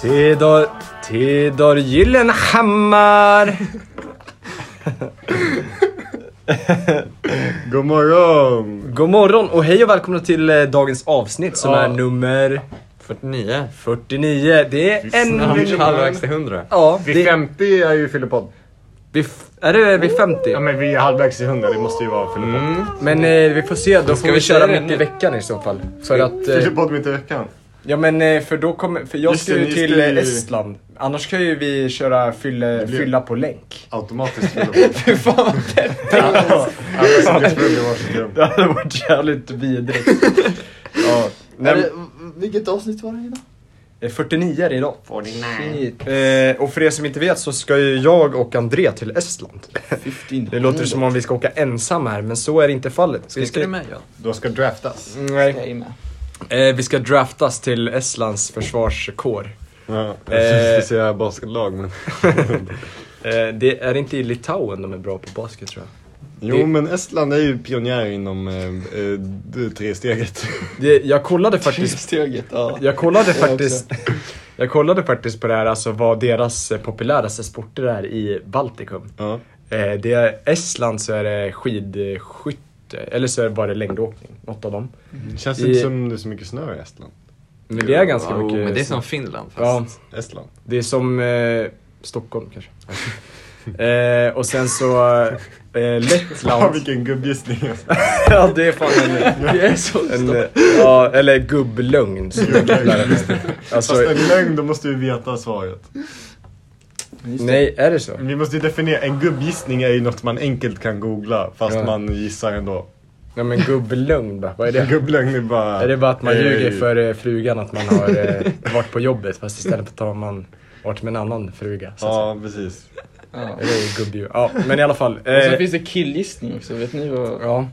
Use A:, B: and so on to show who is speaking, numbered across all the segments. A: Theodor, Theodor Gyllenhammar!
B: God morgon!
A: God morgon och hej och välkomna till eh, dagens avsnitt som
C: Ja.
A: är nummer
C: 49.
A: 49. Det är en...
C: Han är
B: miljon.
C: halvvägs till 100.
A: Ja,
B: Vid
A: det,
B: 50 är ju fyllepodd.
A: vi f- är det vid 50?
B: Ja men vi är halvvägs till 100, det måste ju vara fyllepodd.
A: Men eh, vi får se, då får vi
C: vi
A: köra
C: säga det
A: mitt
C: nu?
A: i veckan i så fall. För att... Eh,
B: Fyllepodd mitt i veckan.
A: ja men eh, för då kommer... För jag
B: Just
A: ska
B: det,
A: ju
B: ni
A: till
B: ska
A: eh,
B: ju-
A: Estland. Annars kan ju vi köra fylle,
B: blir-
A: fylla på länk.
B: Automatiskt fyllepodd.
A: Fy fan vad det
B: Alla som blir full i varsitt rum.
A: Det hade varit jävligt vidrigt. ja. Nej, men-
B: Vilket avsnitt var det idag?
A: Eh, 49 är det idag. Shit. Eh, och för er som inte vet så ska ju jag och André till Estland. Det låter som om vi ska åka ensamma här, men så är inte fallet. Vi
C: Ska du med John?
B: De ska draftas.
A: Nej. Eh, vi ska draftas till Estlands försvarskår.
B: Ja,
A: skulle
B: säga basketlag men...
A: Eh, det är inte i Litauen de är bra på basket tror jag.
B: Jo men Estland är ju pionjär inom eh, eh, d- tresteget.
A: Det, jag kollade faktiskt,
D: Steget, ja.
A: jag kollade
D: Jag
A: faktiskt, jag kollade faktiskt på det här, alltså vad deras eh, populäraste sporter är i Baltikum.
B: Ja.
A: Eh, det är Estland så är det skidskytte, eller så är det bara längdåkning, något av dem.
B: Känns
A: I-
B: det inte som det är så mycket snö i Estland?
A: Men det är ganska
C: Jo,
A: mycket.
C: men det är som Finland fast.
A: Ja,
B: Estland?
A: det är som eh, Stockholm kanske. eh, och sen så eh,
B: Ja,
A: Lettland.
B: vilken gubbgissning alltså.
A: ja, det är fan en...
D: Det är så
A: en eh, ja, eller gubblögn som jag kallar det. Alltså,
B: Fast en lögn, då måste vi veta svaret.
A: nej, är det så?
B: Vi måste ju definiera, en gubbgissning är ju något man enkelt kan googla fast
A: Ja.
B: man gissar ändå.
A: Nej men gubblögn va? vad är det?
B: Gubblögn är bara...
A: Är det bara att man
B: Eh,
A: ljuger för eh, frugan att man har eh, varit på jobbet fast istället för att har man varit med en annan fruga? Så att säga.
B: Ja, precis.
D: Ja.
A: Det är gubbjul. Ja, men i alla fall.
D: Och sen
A: Eh,
D: finns det killgissning också, vet ni vad?
A: ja,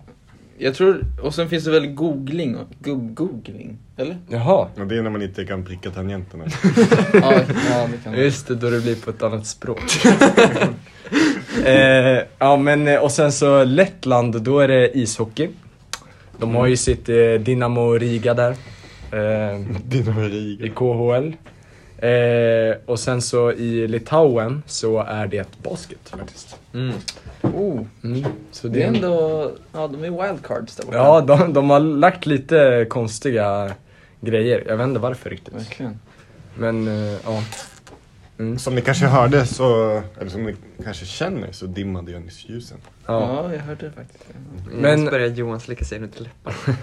D: Jag tror, och sen finns det väl googling, och- gubb-googling? Eller?
A: jaha.
B: Och det är när man inte kan pricka tangenterna.
D: Ja, ja det kan det.
A: Just det, då det blir på ett annat språk. eh, ja men eh, och sen så Lettland, då är det ishockey. De
D: Mm.
A: har ju sitt eh, Dynamo Riga där. Eh,
B: Dina
A: I
B: Riga.
A: KHL. Eh, och sen så i Litauen så är det basket faktiskt.
C: Mm.
D: Oh,
A: Mm. Så
D: det är ändå, ja de är wildcards där borta.
A: Ja, de, de har lagt lite konstiga grejer. Jag vet inte varför riktigt.
D: Verkligen.
A: Men eh, ja. Mm.
B: Som ni kanske hörde så, eller som ni kanske känner så dimmade jag nyss ljusen.
A: ja.
D: Ja, jag hörde det faktiskt.
A: Men-
C: Men... Nu börjar Johan slicka sig runt läpparna.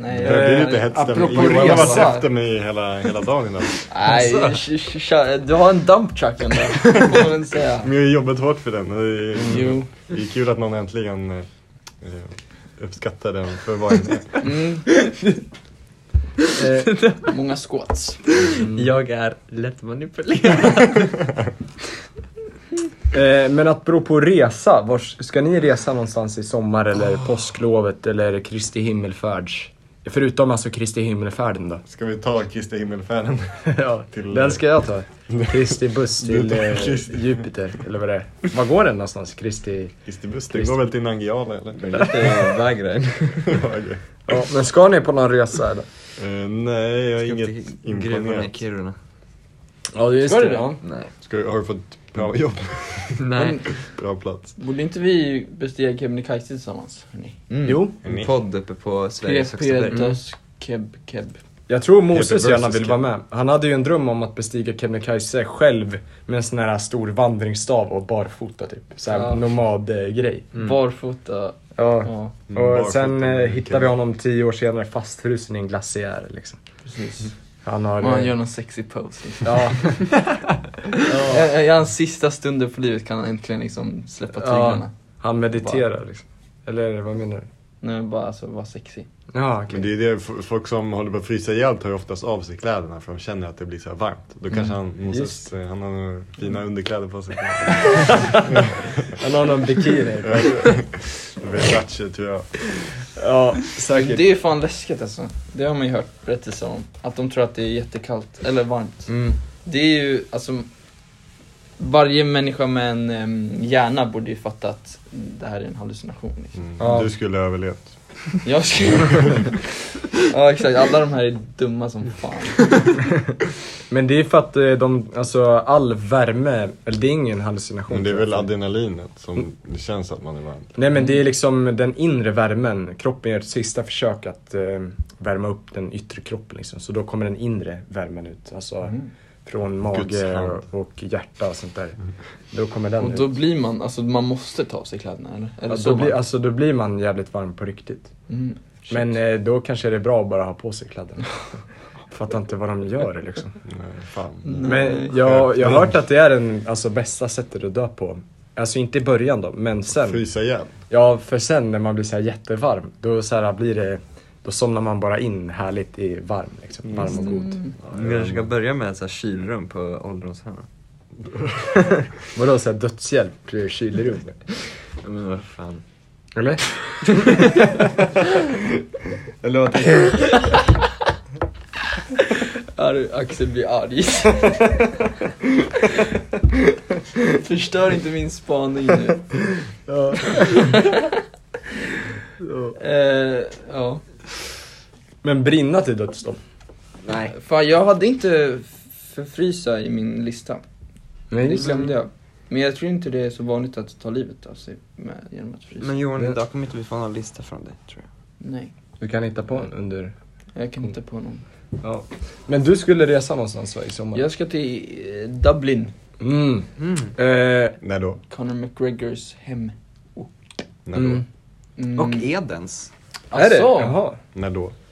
D: Nej,
B: Det blir lite
A: Eh, apropå
B: hetsstämning. Johan har varit
A: resa.
B: efter mig hela, hela dagen idag.
D: Nej,
A: Alltså.
D: sh- sh- sh- du har en dump truck ändå, får man väl säga.
B: Men jag har jobbat hårt för den. och Det är,
D: Jo.
B: det är kul att någon äntligen eh, eh, uppskattar den för vad den är.
D: Mm,
A: Eh,
D: många squats.
C: Jag är lätt manipulerad.
A: eh, men att bero på resa, var ska ni resa någonstans i sommar eller påsklovet eller Kristi himmelfärds? Förutom alltså Kristi himmelfärden då.
B: Ska vi ta Kristi himmelfärden?
A: ja,
B: Till- eh,
A: den ska jag ta. Kristi buss till
B: Du tar
A: eh,
B: Kristi.
A: Jupiter, eller vad det är. Var går den någonstans? Kristi...
B: Kristi buss, det
A: Kristi-
B: går väl till Nangijala eller?
C: Vägrar.
B: Okej.
A: Ja, men ska ni på någon resa eller?
B: Eh, nej, jag är inget
C: Gruvorna i
B: imponerad.
C: Kiruna.
A: Ja, just
D: Ska
A: det.
D: du det?
A: Ja.
C: Nej.
B: Ska, har du fått
A: Mm.
B: bra jobb?
C: Nej.
B: Bra plats.
D: Borde inte vi bestiga Kebnekaise tillsammans? hörni?
C: Mm.
A: Jo.
C: En podd uppe på Sveriges högsta berg.
D: Pepetas Keb Keb.
A: Jag tror Moses
B: Peter
A: gärna
B: versus
A: vill vara med. Han hade ju en dröm om att bestiga Kebnekaise själv med en sån här stor vandringsstav och barfota typ. Såhär
D: Ja.
A: nomadgrej.
D: Barfota.
A: Ja.
D: Ja,
B: Mm,
A: Och
B: barfota.
A: sen eh, hittar vi honom tio år senare fastfrusen i en glaciär liksom.
D: precis.
A: Han har...
D: Och han
A: eh,
D: gör någon sexy pose. liksom.
A: Ja. ja.
D: I- I hans sista stunder på livet kan han äntligen liksom släppa
A: Ja.
D: tyglarna.
A: Han mediterar liksom. Eller vad menar du?
D: Nu bara alltså vara sexy.
A: Ja, okej.
B: Men det är det, f- folk som håller på att frysa ihjäl tar ju oftast av sig kläderna för de känner att det blir så här varmt. Då kanske han, Moses,
A: Mm. Just. Mm.
B: eh, han har några fina underkläder på sig.
A: Han har någon bikini.
B: Versace tror jag.
A: ja, säkert.
D: Det är fan läskigt alltså. Det har man ju hört berättelser om. Att de tror att det är jättekallt, eller varmt.
A: Mm.
D: Det är ju alltså varje människa med en em, hjärna borde ju fatta att det här är en hallucination. Liksom.
B: Mm.
A: Ja.
B: Du skulle ha överlevt.
D: Jag ska... ja exakt, alla de här är dumma som fan.
A: Men det är för att eh, de, alltså all värme, eller det är ingen hallucination.
B: Men det är väl
A: tror jag.
B: adrenalinet
A: Mm.
B: som det känns att man är varm.
A: Nej men det är liksom den inre värmen, kroppen gör ett sista försök att eh, värma upp den yttre kroppen liksom. Så då kommer den inre värmen ut, alltså
D: Mm.
A: från
B: Guds
A: mage
B: hand.
A: och, och hjärta och sånt där. Då kommer den
D: Och då
A: ut.
D: blir man, alltså man måste ta av sig kläderna eller? eller
A: Ja,
D: så
A: då, blir,
D: man-
A: alltså, då blir man jävligt varm på riktigt.
D: Mm, shit.
A: Men eh, då kanske det är bra att bara ha på sig kläderna. Fattar inte vad de gör liksom.
B: Nej, fan.
A: Mm.
D: Nej.
A: Men jag, jag har hört att det är den alltså, bästa sättet att dö på. Alltså inte i början då, men sen.
B: Frysa igen.
A: Ja, för sen när man blir så här jättevarm, då så här blir det, då somnar man bara in härligt i varm liksom. Varm och god.
D: Mm.
A: Mm.
C: Vi kanske ska börja med så här kylrum på ålderdomshemmen.
A: Vadå såhär dödshjälp, eh, kylrum?
C: Ja, Men vad fan.
A: Eller?
C: Eller vad tänker du?
D: Arr, Axel blir arg. Förstör inte min spaning nu. Eh, ja.
A: Men brinna till döds då?
C: Nej.
D: Fan, jag hade inte förfrysa i min lista.
A: Nej,
D: det glömde jag. Men jag tror inte det är så vanligt att ta livet av sig med, genom att frysa.
C: Men Johan, idag kommer inte vi få någon lista från dig tror jag.
D: Nej,
A: Du kan hitta på en under...
D: jag kan inte på någon.
A: Ja. Men du skulle resa någonstans va, i sommar?
D: Jag ska till eh, Dublin,
A: Mm.
C: Mm.
A: Eh,
B: När då?
D: Conor McGregors hem.
B: När då?
A: mm.
D: Mm.
C: Och Edens.
A: Är det?
D: Asså?
A: Jaha.
B: När då?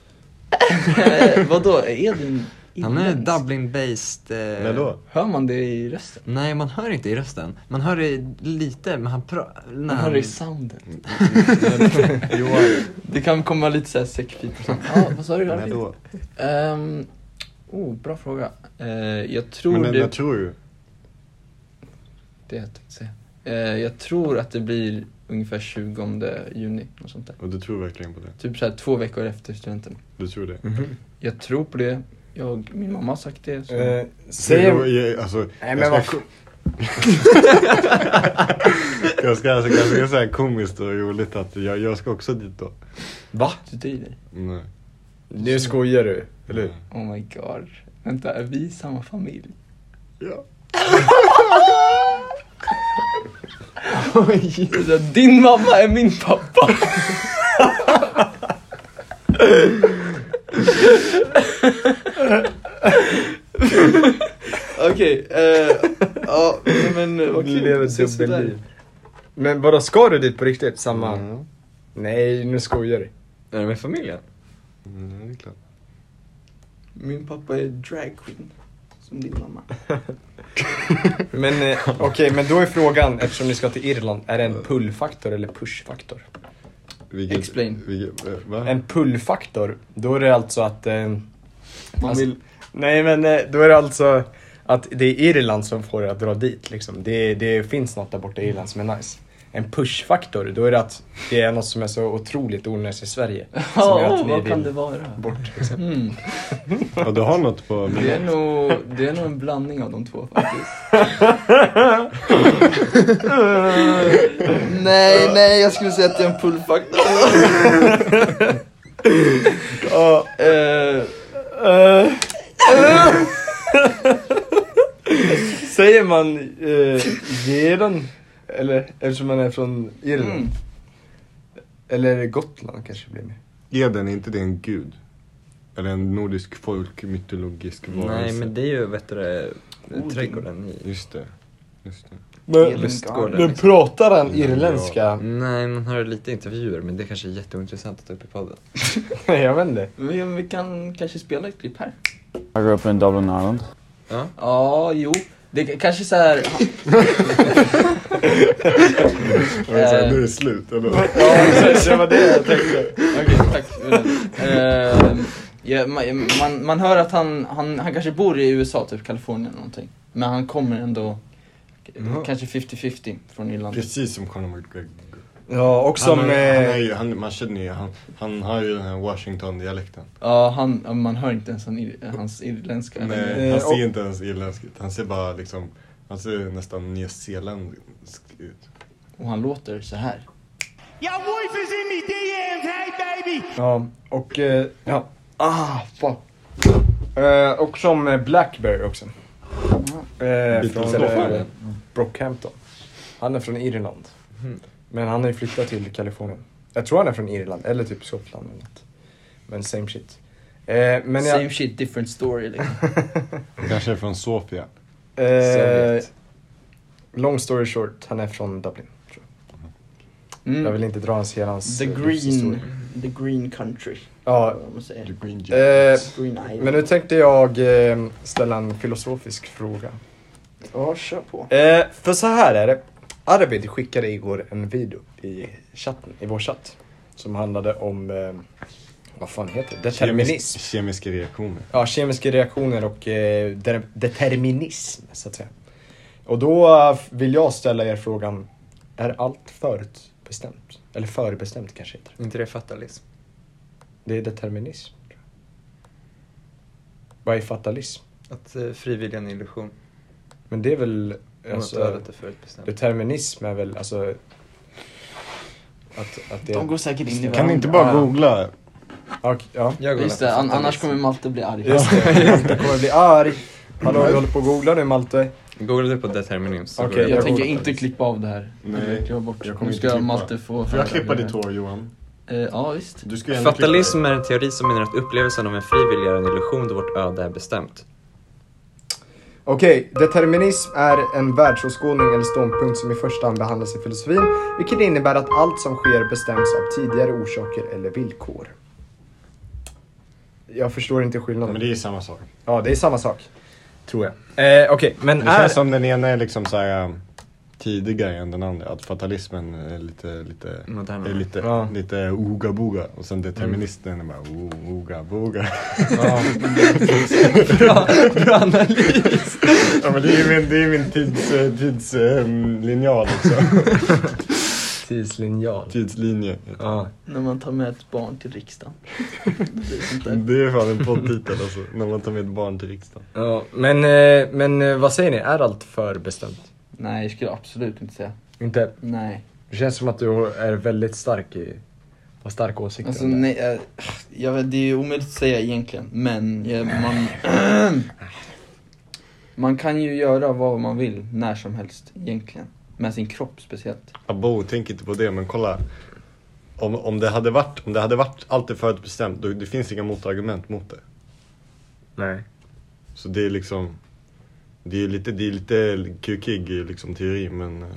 D: Eh, Vadå, är din
C: Han är
D: irländsk?
C: Dublin-based. eh,
B: När då?
D: Hör man det i rösten?
C: Nej, man hör inte i rösten. Man hör det lite, men han pratar...
D: Man hör det i soundet.
B: Johan,
D: Det kan komma lite såhär säckpipa. Ja, vad sa du?
B: när då?
D: Ehm, oh, bra fråga. Eh, jag tror
B: Men när,
D: det...
B: när tror du?
D: det jag tänkte säga. Eh, jag tror att det blir ungefär 20 juni. Något sånt där.
B: Och du tror verkligen på det?
D: Typ såhär två veckor efter studenten.
B: Du tror
A: Mm.
B: det?
D: Jag tror på det. Jag, min mamma har sagt det. Så.
A: Eh,
B: Hur-
A: säg...
B: jag- Alltså, jag
A: Nej, men
B: ska- Jag ska alltså kanske säga så här komiskt och roligt att jag, jag ska också dit då.
A: Va?
D: Du driver?
B: Nej.
A: Nu skojar du, eller hur?
B: Eller?
D: Oh my god. Vänta, är vi samma familj?
B: Ja.
D: Oj! Din mamma är min pappa! Okej, eh, ja men vad
A: Du
D: kul.
A: lever
D: Vi ses
A: dubbelliv.
D: där.
A: Men vadå, ska du dit på riktigt? Samma?
B: Mm.
A: Nej, nu skojar du.
C: Är det med familjen?
B: Mm, det är klart.
D: Min pappa är drag queen som din mamma.
A: Men eh, okej, men då är frågan, eftersom ni ska till Irland, är det en pull-faktor eller push-faktor?
B: Vilket,
D: Explain.
B: Vilket, eh, va?
A: En pull-faktor, då är det alltså att... Eh,
D: Man
A: alltså,
D: vill...
A: Nej men eh, då är det alltså att det är Irland som får er att dra dit liksom. Det, det finns något där borta i Irland som är nice. En push-faktor, då är det att det är något som är så otroligt onödigt i Sverige. Som gör
D: Ja,
A: att ni
D: vad kan
A: vill
D: det vara?
A: bort liksom.
D: Mm.
B: Ja, du har något på
D: Det, är nog, det är nog en blandning av de två faktiskt. nej, nej, jag skulle säga att det är en pullfaktor.
A: Ja,
D: Eh,
A: eh, eh. Säger man eh, Geron? Eller eftersom man är från Irland?
D: mm.
A: Eller Gotland kanske blir med?
B: Eden, är inte det en gud? Eller en nordisk folkmytologisk varelse?
C: Nej, men det är ju, vet du det,
D: Odin.
C: trädgården i...
B: Just det. Just
A: Eh.
B: det.
A: Men,
C: Lustgården.
A: men pratar han
B: Ja.
A: irländska?
C: Nej, man hör lite intervjuer, men det kanske är jätteintressant att ta upp i podden.
A: Jag vet inte.
D: Vi, vi kan kanske spela ett klipp här.
E: I grew up in Dublin, Ireland.
C: Ja.
D: Ja, jo. Det k- kanske så här...
B: Jag vill säga, nu är det slut, eller?
A: Ja, precis, det var det jag tänkte.
D: Okej, tack. Eh, ja, man, man, man hör att han, han, han kanske bor i USA, typ Kalifornien eller någonting. Men han kommer ändå,
C: Ja.
D: kanske 50-50 från Irland.
B: Precis som Conor McGregor.
A: Ja, och som...
B: han, har- han, är
A: eh,
B: ju, han, man känner ju, han, han har ju den här Washington-dialekten.
D: Ja, han, ja, man hör inte ens han, ir- hans irländska.
B: Nej,
A: Eh,
B: han
A: och-
B: ser inte ens irländsk ut. Han ser bara liksom, han ser nästan nyzeeländsk ut.
D: Och han låter så här.
F: Your wife is in me DMs, hey baby!
A: Ja, och... eh, Ja. Ah, fan. Eh, Och som eh, Blackberry också. Eh,
B: Lite
A: från
B: stoffare.
A: eh, Brockhampton. Han är från Irland. Men han har ju flyttat till Kalifornien. Jag tror han är från Irland, eller typ Skottland eller något. Men same shit. Eh, men jag,
D: Same shit, different story liksom.
B: Kanske är från Sofia.
A: Eh,
D: Sovjet.
A: long story short, han är från Dublin. Tror jag. jag
D: Mm.
A: vill inte dra hans hela hans
D: The
A: eh, livshistoria.
D: green, the green country.
A: Ja,
D: vad man säger.
B: Green
A: eh,
D: Green island.
A: men nu tänkte jag eh, ställa en filosofisk fråga.
D: Ja, kör på.
A: Eh, för så här är det. Arvid skickade igår en video i chatten, i vår chatt. Som handlade om, eh, vad fan heter det? Determinism.
B: kemiska reaktioner.
A: Ja, kemiska reaktioner och eh, der- determinism, så att säga. Och då eh, vill jag ställa er frågan, är allt förutbestämt? Eller förbestämt kanske heter det.
G: inte det fatalism?
A: Det är determinism. tror jag. Vad är fatalism?
G: Att eh, frivillig är en illusion.
A: Men det är väl...
G: Alltså,
A: Alltså,
G: ödet är förutbestämt.
A: determinism är väl alltså... Att, att det...
D: De går säkert in i varandra.
B: Kan ni inte bara googla?
A: Ja, okej, ja.
G: Jag går
D: Just
G: lätt
D: det,
G: på
D: an- annars
G: fatalism.
D: kommer Malte bli arg.
A: Just det, jag kommer bli arg. Hallå, vi håller på att googla nu Malte.
G: Googla du på determinism så
A: Okej,
G: går det
D: Jag
A: Jag
D: tänker
A: går-
D: inte klippa av det här.
B: Nej,
D: Jag vill klippa bort.
B: jag kommer
D: Nu
B: inte
D: ska
B: klippa.
D: Malte få...
B: Får jag klippa ditt hår Johan?
D: Eh, Ja, visst.
B: Du ska ju ändå klippa
G: Fatalism är en teori som menar att upplevelsen av en frivillig är en illusion då vårt öde är bestämt.
A: Okej, determinism är en världsåskådning eller ståndpunkt som i första hand behandlas i filosofin, vilket innebär att allt som sker bestäms av tidigare orsaker eller villkor. Jag förstår inte
B: dig. Men
A: skillnaden.
B: det är ju samma sak.
A: Ja, det är samma sak. Tror jag. Eh, Okej, men
B: Det
A: är...
B: känns som den ena är liksom så här um, tidigare än den andra. Att fatalismen är lite, lite,
G: Modernare.
B: är lite,
A: Ja.
B: lite ooga-booga. Och sen deterministen är bara o- ooga-booga.
A: Ja,
D: Bra analys!
B: ja men det är ju min, det är ju min tids, eh, tids, um, linjal också.
A: tidslinjal.
B: Tidslinje.
A: Ja.
D: När man tar med ett barn till riksdagen. Det är sånt där.
B: Det är fan en poddtitel alltså. När man tar med ett barn till riksdagen.
A: ja. Men, eh, men eh, vad säger ni? Är allt förbestämt?
D: Nej, jag skulle absolut inte säga.
A: Inte?
D: Nej.
A: Det känns som att du är väldigt stark i... Har starka åsikter
D: Alltså,
A: om det.
D: nej, eh, jag vet, det är ju omöjligt att säga egentligen, men eh, man... man kan ju göra vad man vill när som helst, egentligen. Med sin kropp speciellt.
B: Abo, tänk inte på det men kolla. Om, om, det hade varit, om det hade varit allt är förutbestämt, då, det finns inga motargument mot det.
A: Nej.
B: Så det är liksom Det är lite, det är lite kukig liksom teori men eh,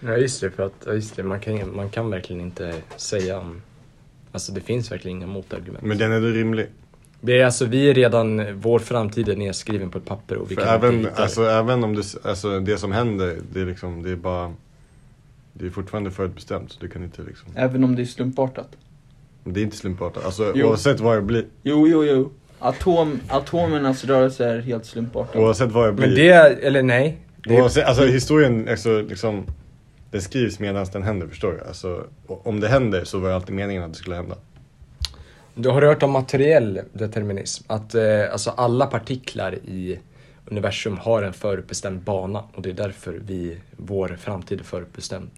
A: Ja just det, för att, ja, just det man, kan, man kan verkligen inte säga om... Alltså det finns verkligen inga motargument.
B: Men den är då rimlig
A: Det är alltså, vi är redan, vår framtid är nedskriven på ett papper och vi
B: För
A: kan inte
B: även,
A: hitta
B: alltså, även om det, s- alltså, det som händer det är liksom, det är bara Det är fortfarande förutbestämt så du kan inte liksom
D: Även om det är slumpartat.
B: Men det är inte slumpartat, alltså
D: Jo.
B: oavsett vad jag blir
D: Jo, jo, jo. Atom, atomernas rörelse är helt slumpartad.
B: Oavsett vad jag
A: det. Men
B: blir
A: det, är- eller nej. Det är,
B: oavsett, Alltså historien, alltså liksom Den skrivs medan den händer förstår du? Alltså o- om det händer så var det alltid meningen att det skulle hända
A: du har hört om materiell determinism? Att eh, alltså alla partiklar i universum har en förutbestämd bana och det är därför vi, vår framtid är förutbestämd.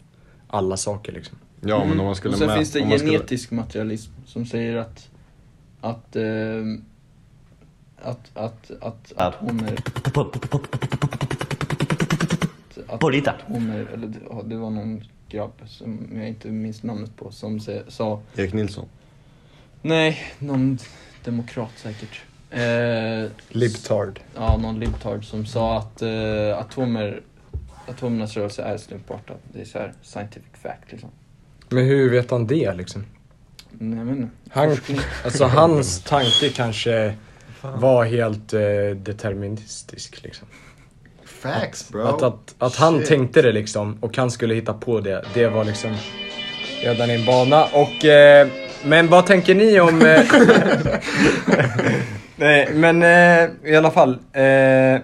A: Alla saker liksom.
B: Ja men om man skulle
D: Och sen
B: mä-
D: finns det
B: om man skulle-
D: genetisk materialism som säger att att, ehm, att, att, att, att atomer... Att
F: Polita.
D: atomer, eller det- ja, det var någon grabb som jag inte minns namnet på som se- sa
B: Erik Nilsson
D: Nej, någon demokrat säkert. Eh,
A: Libtard.
D: Ja, någon libtard som sa att eh, atomer, atomernas rörelse är slumpartad. Det är så här scientific fact liksom.
A: Men hur vet han det liksom?
D: Nej, jag vet inte.
A: Han,
D: Forskning.
A: alltså hans tanke kanske
G: Fan.
A: var helt eh, deterministisk liksom.
B: Facts bro
A: Att, att, att han
B: Shit.
A: tänkte det liksom och han skulle hitta på det, det var liksom redan i en bana. Och, eh, men vad tänker ni om... Eh, nej, men eh, i alla fall. Eh,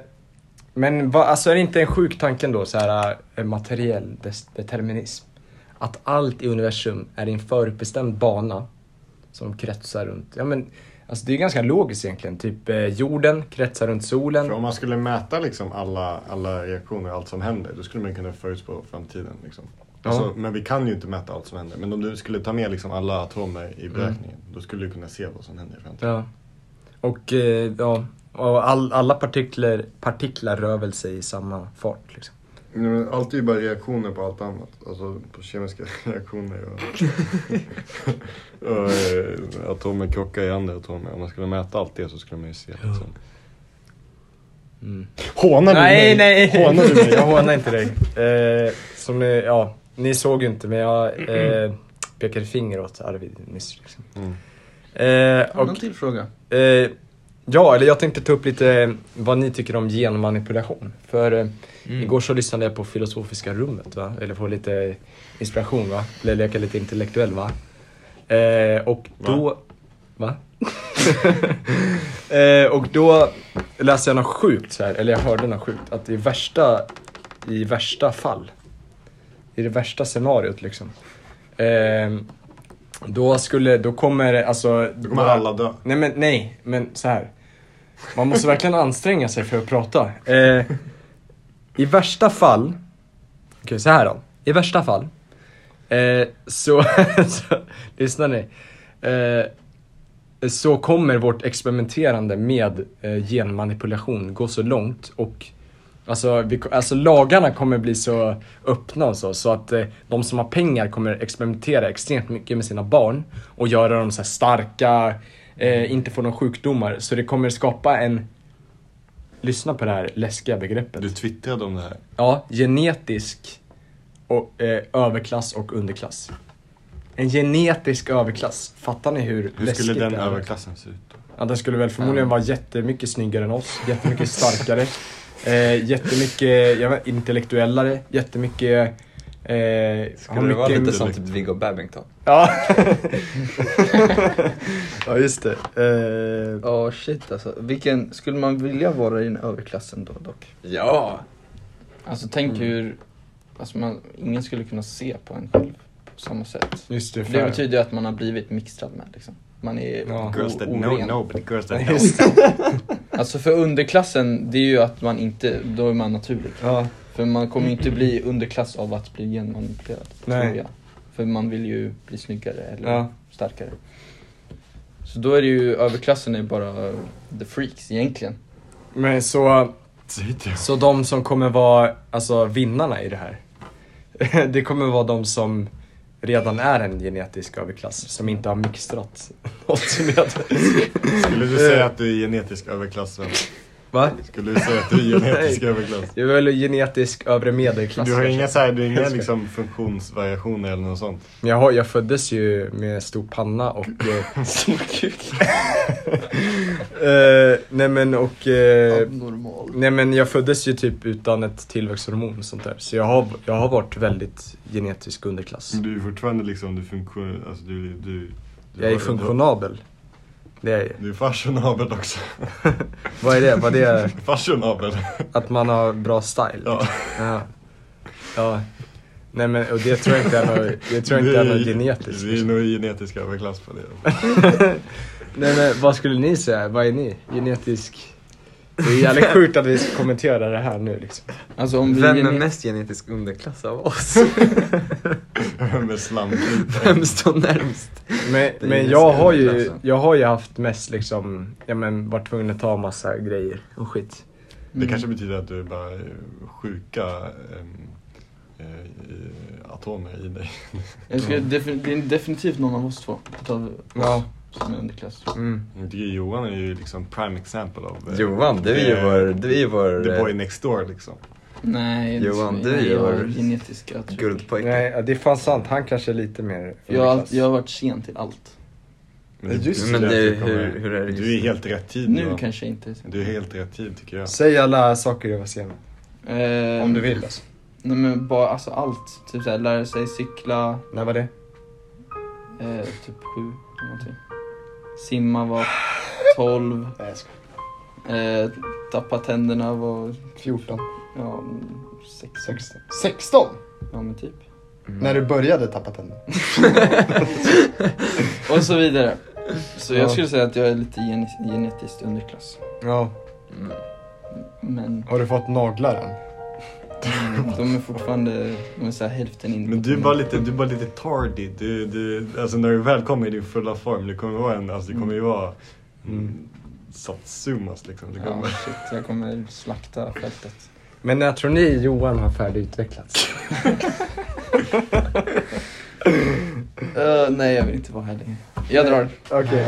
A: men vad, alltså är det inte en sjuk tanke då, så här eh, materiell des- determinism? Att allt i universum är i en förutbestämd bana som kretsar runt, ja men alltså det är ganska logiskt egentligen. Typ eh, jorden kretsar runt solen.
B: För om man skulle mäta liksom alla, alla reaktioner, allt som händer, då skulle man kunna förutspå framtiden. Liksom. Alltså, men vi kan ju inte mäta allt som händer. Men om du skulle ta med liksom alla atomer i beräkningen, då skulle du kunna se vad som händer i framtiden.
A: Ja. Och, eh, ja. och all, alla partiklar, partiklar rör väl sig i samma fart. Liksom.
B: Nej, men allt är ju bara reaktioner på allt annat. Alltså på kemiska reaktioner och, och eh, atomer krockar i andra atomer. Om man skulle mäta allt det så skulle man ju se. Liksom.
A: Mm.
B: Hånar du mig?
A: Nej, nej!
B: Hånar du mig?
A: Jag hånar inte dig. Eh, som ni, ja, ni såg ju inte men jag eh, pekade finger åt Arvid nyss. Liksom.
B: Mm.
A: Eh,
D: Någon
A: och,
D: till fråga?
A: eh, ja, eller jag tänkte ta upp lite eh, vad ni tycker om genmanipulation. För eh,
B: Mm.
A: igår så lyssnade jag på Filosofiska rummet, va? eller få lite inspiration, va? eller leka lite intellektuell. va? Eh, och då... Va? eh, och då läste jag något sjukt, så här, eller jag hörde något sjukt, att i värsta, i värsta fall, i det värsta scenariot liksom, eh, då skulle, då kommer alltså...
B: Då kommer alla dö.
A: Nej men nej, men så här. Man måste verkligen anstränga sig för att prata. Eh, I värsta fall, okej så här då. I värsta fall, eh, så, så, lyssnar ni. Eh, så kommer vårt experimenterande med eh, genmanipulation gå så långt och Alltså, vi, ko- alltså lagarna kommer bli så öppna och så, så att eh, de som har pengar kommer experimentera extremt mycket med sina barn och göra dem så här starka, eh, inte få några sjukdomar. Så det kommer skapa en, lyssna på det här läskiga begreppet.
B: Du twittrade om det här.
A: Ja, genetisk och, eh, överklass och underklass. En genetisk överklass. Fattar ni hur,
B: Hur
A: läskigt
B: skulle den
A: det är?
B: överklassen se ut då?
A: Ja, den skulle väl förmodligen vara jättemycket snyggare än oss, jättemycket starkare, eh, jättemycket jag vet, intellektuellare, jättemycket... Eh, ha
G: Skulle det vara
A: mycket-
G: lite som typ Viggo Babington?
A: Ja. ja, just det. Eh,
D: Ja shit alltså, vilken, skulle man vilja vara i den överklassen då dock?
G: Ja!
D: Alltså tänk hur, alltså man, ingen skulle kunna se på en själv på samma sätt.
A: just det,
D: Det
A: för...
D: betyder ju att man har blivit mixtrad med liksom. Man är
A: Ja.
D: o-
B: Girls that no,
D: oren.
B: no, but girls that no.
A: Just det.
D: Alltså för underklassen, det är ju att man inte, då är man naturlig.
A: Ja,
D: För man kommer ju inte bli underklass av att bli genmanipulerad,
A: Nej.
D: tror jag. För man vill ju bli snyggare eller
A: Ja.
D: starkare. Så då är det ju, överklassen är bara eh, the freaks egentligen.
A: men så,
B: Säg inte jag.
A: så de som kommer vara alltså, vinnarna i det här, det kommer vara de som redan är en genetisk överklass, som inte har mixtrat något med...
B: Skulle du säga att du är genetisk överklass? Sven?
A: Va?
B: Skulle du säga att du är genetisk överklass?
A: Jag är väl genetisk övre medelklass
B: Du har
A: kanske.
B: inga, så här, du har inga liksom, funktionsvariationer eller något sånt?
A: Men jag, har, jag föddes ju med stor panna och... Eh, stor kuk. eh, nej men och... Eh,
D: Abnormal.
A: nej men jag föddes ju typ utan ett tillväxthormon och sånt där. Så jag har, jag har varit väldigt genetisk underklass.
B: Men Du är fortfarande liksom, du funktion... Alltså du, du, du
A: Jag är
B: har-
A: funktionabel. Det är jag ju.
B: Du är fashionabel också.
A: Vad är det? Vad det är?
B: Fashionabel.
A: Att man har bra style?
B: Ja.
A: Ja. ja. Nej men och det tror jag inte är något, det tror jag inte är
B: Vi-
A: något genetiskt.
B: Vi är nog genetisk överklass på det.
A: Nej men vad skulle ni säga? Vad är ni? Genetisk? Det är jävligt sjukt att vi ska kommentera det här nu liksom.
D: Alltså om vi
G: Vem är
D: genet-
G: mest genetisk underklass av oss?
B: Med slamkrypare.
G: Vem står närmst?
A: Men,
G: är
A: men
G: ju
A: jag har ju,
G: skamklassen.
A: jag har ju haft mest liksom, ja men varit tvungen att ta massa grejer och skit.
G: Mm.
B: Det kanske betyder att du är bara eh, sjuka ehm, eh, i- atomer i dig.
D: Jag skulle defin- det är definitivt någon av oss två utav oss
A: Ja.
D: som är underklass.
A: Mm.
B: Jag tycker Johan är ju liksom prime example av... eh,
G: Johan, du är ju
B: eh,
G: vår, du är ju vår
B: The boy
G: eh,
B: next door liksom.
D: Nej, det-
G: Johan, du
D: nej, jag
G: gör
D: har genetiska tror jag.
G: guldpojke.
A: Nej, ja, det är fan sant. Han kanske är lite mer
D: Jag har, allt-
A: underklass.
D: jag har varit sen till allt.
B: Men det-
A: Just
B: det
G: Men
B: är
G: du,
B: att kommer-
G: hur, hur är det
B: Du är
G: just
B: helt rätt tid
D: Nu
B: Johan.
D: kanske jag inte är sen.
B: Du är helt rätt tid tycker
G: Mm.
B: jag.
A: Säg alla saker jag var sen.
D: Eh,
A: Om du vill alltså.
D: Nej men bara alltså allt. Typ såhär lära sig cykla,
A: När var det?
D: eh, typ sju eller någonting. Simma var 12.
A: Nej jag skojar.
D: Eh, tappa tänderna var,
H: 14,
D: ja, mm, sex.
H: 16. 16?
D: Ja men typ.
G: Mm.
H: När du började tappa tänderna?
D: Och så vidare. Så
A: Ja.
D: jag skulle säga att jag är lite gen- genetiskt underklass.
A: Ja.
G: Mm.
D: Men
A: Har du fått naglar än?
D: De är fortfarande, de är såhär hälften in.
B: Men du är bara lite, du är bara lite tardy. Du, du, alltså när du väl kommer i din fulla form, du kommer vara en, alltså du kommer ju vara mm, satsumas liksom. Du
D: Ja,
B: kommer,
D: shit, jag kommer slakta fältet.
A: Men när tror ni Johan har färdigutvecklats?
D: Eh, nej, jag vill inte vara här längre. Jag drar.
A: Okej.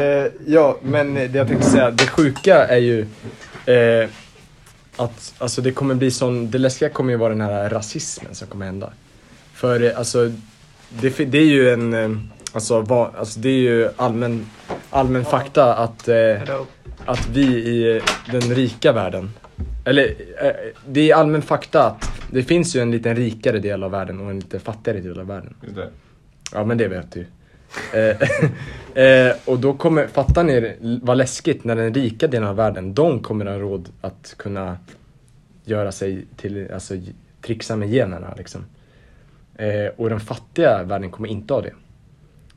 A: Eh, ja, men det jag tänkte säga, det sjuka är ju eh, att alltså det kommer bli sån, det läskiga kommer ju vara den här rasismen som kommer hända. För eh, alltså, det, fi- det är ju en, eh, alltså, va, alltså det är ju allmän, allmän fakta att, eh, att vi i den rika världen, eller eh, det är allmän fakta att det finns ju en lite rikare del av världen och en lite fattigare del av världen.
B: Just det.
A: Ja men det vet du. Eh, eh, och då kommer, fattar ni det- vad läskigt när den rika delen av världen, de kommer ha råd att kunna göra sig till, alltså j- trixa med generna liksom. Eh, och den fattiga världen kommer inte ha det.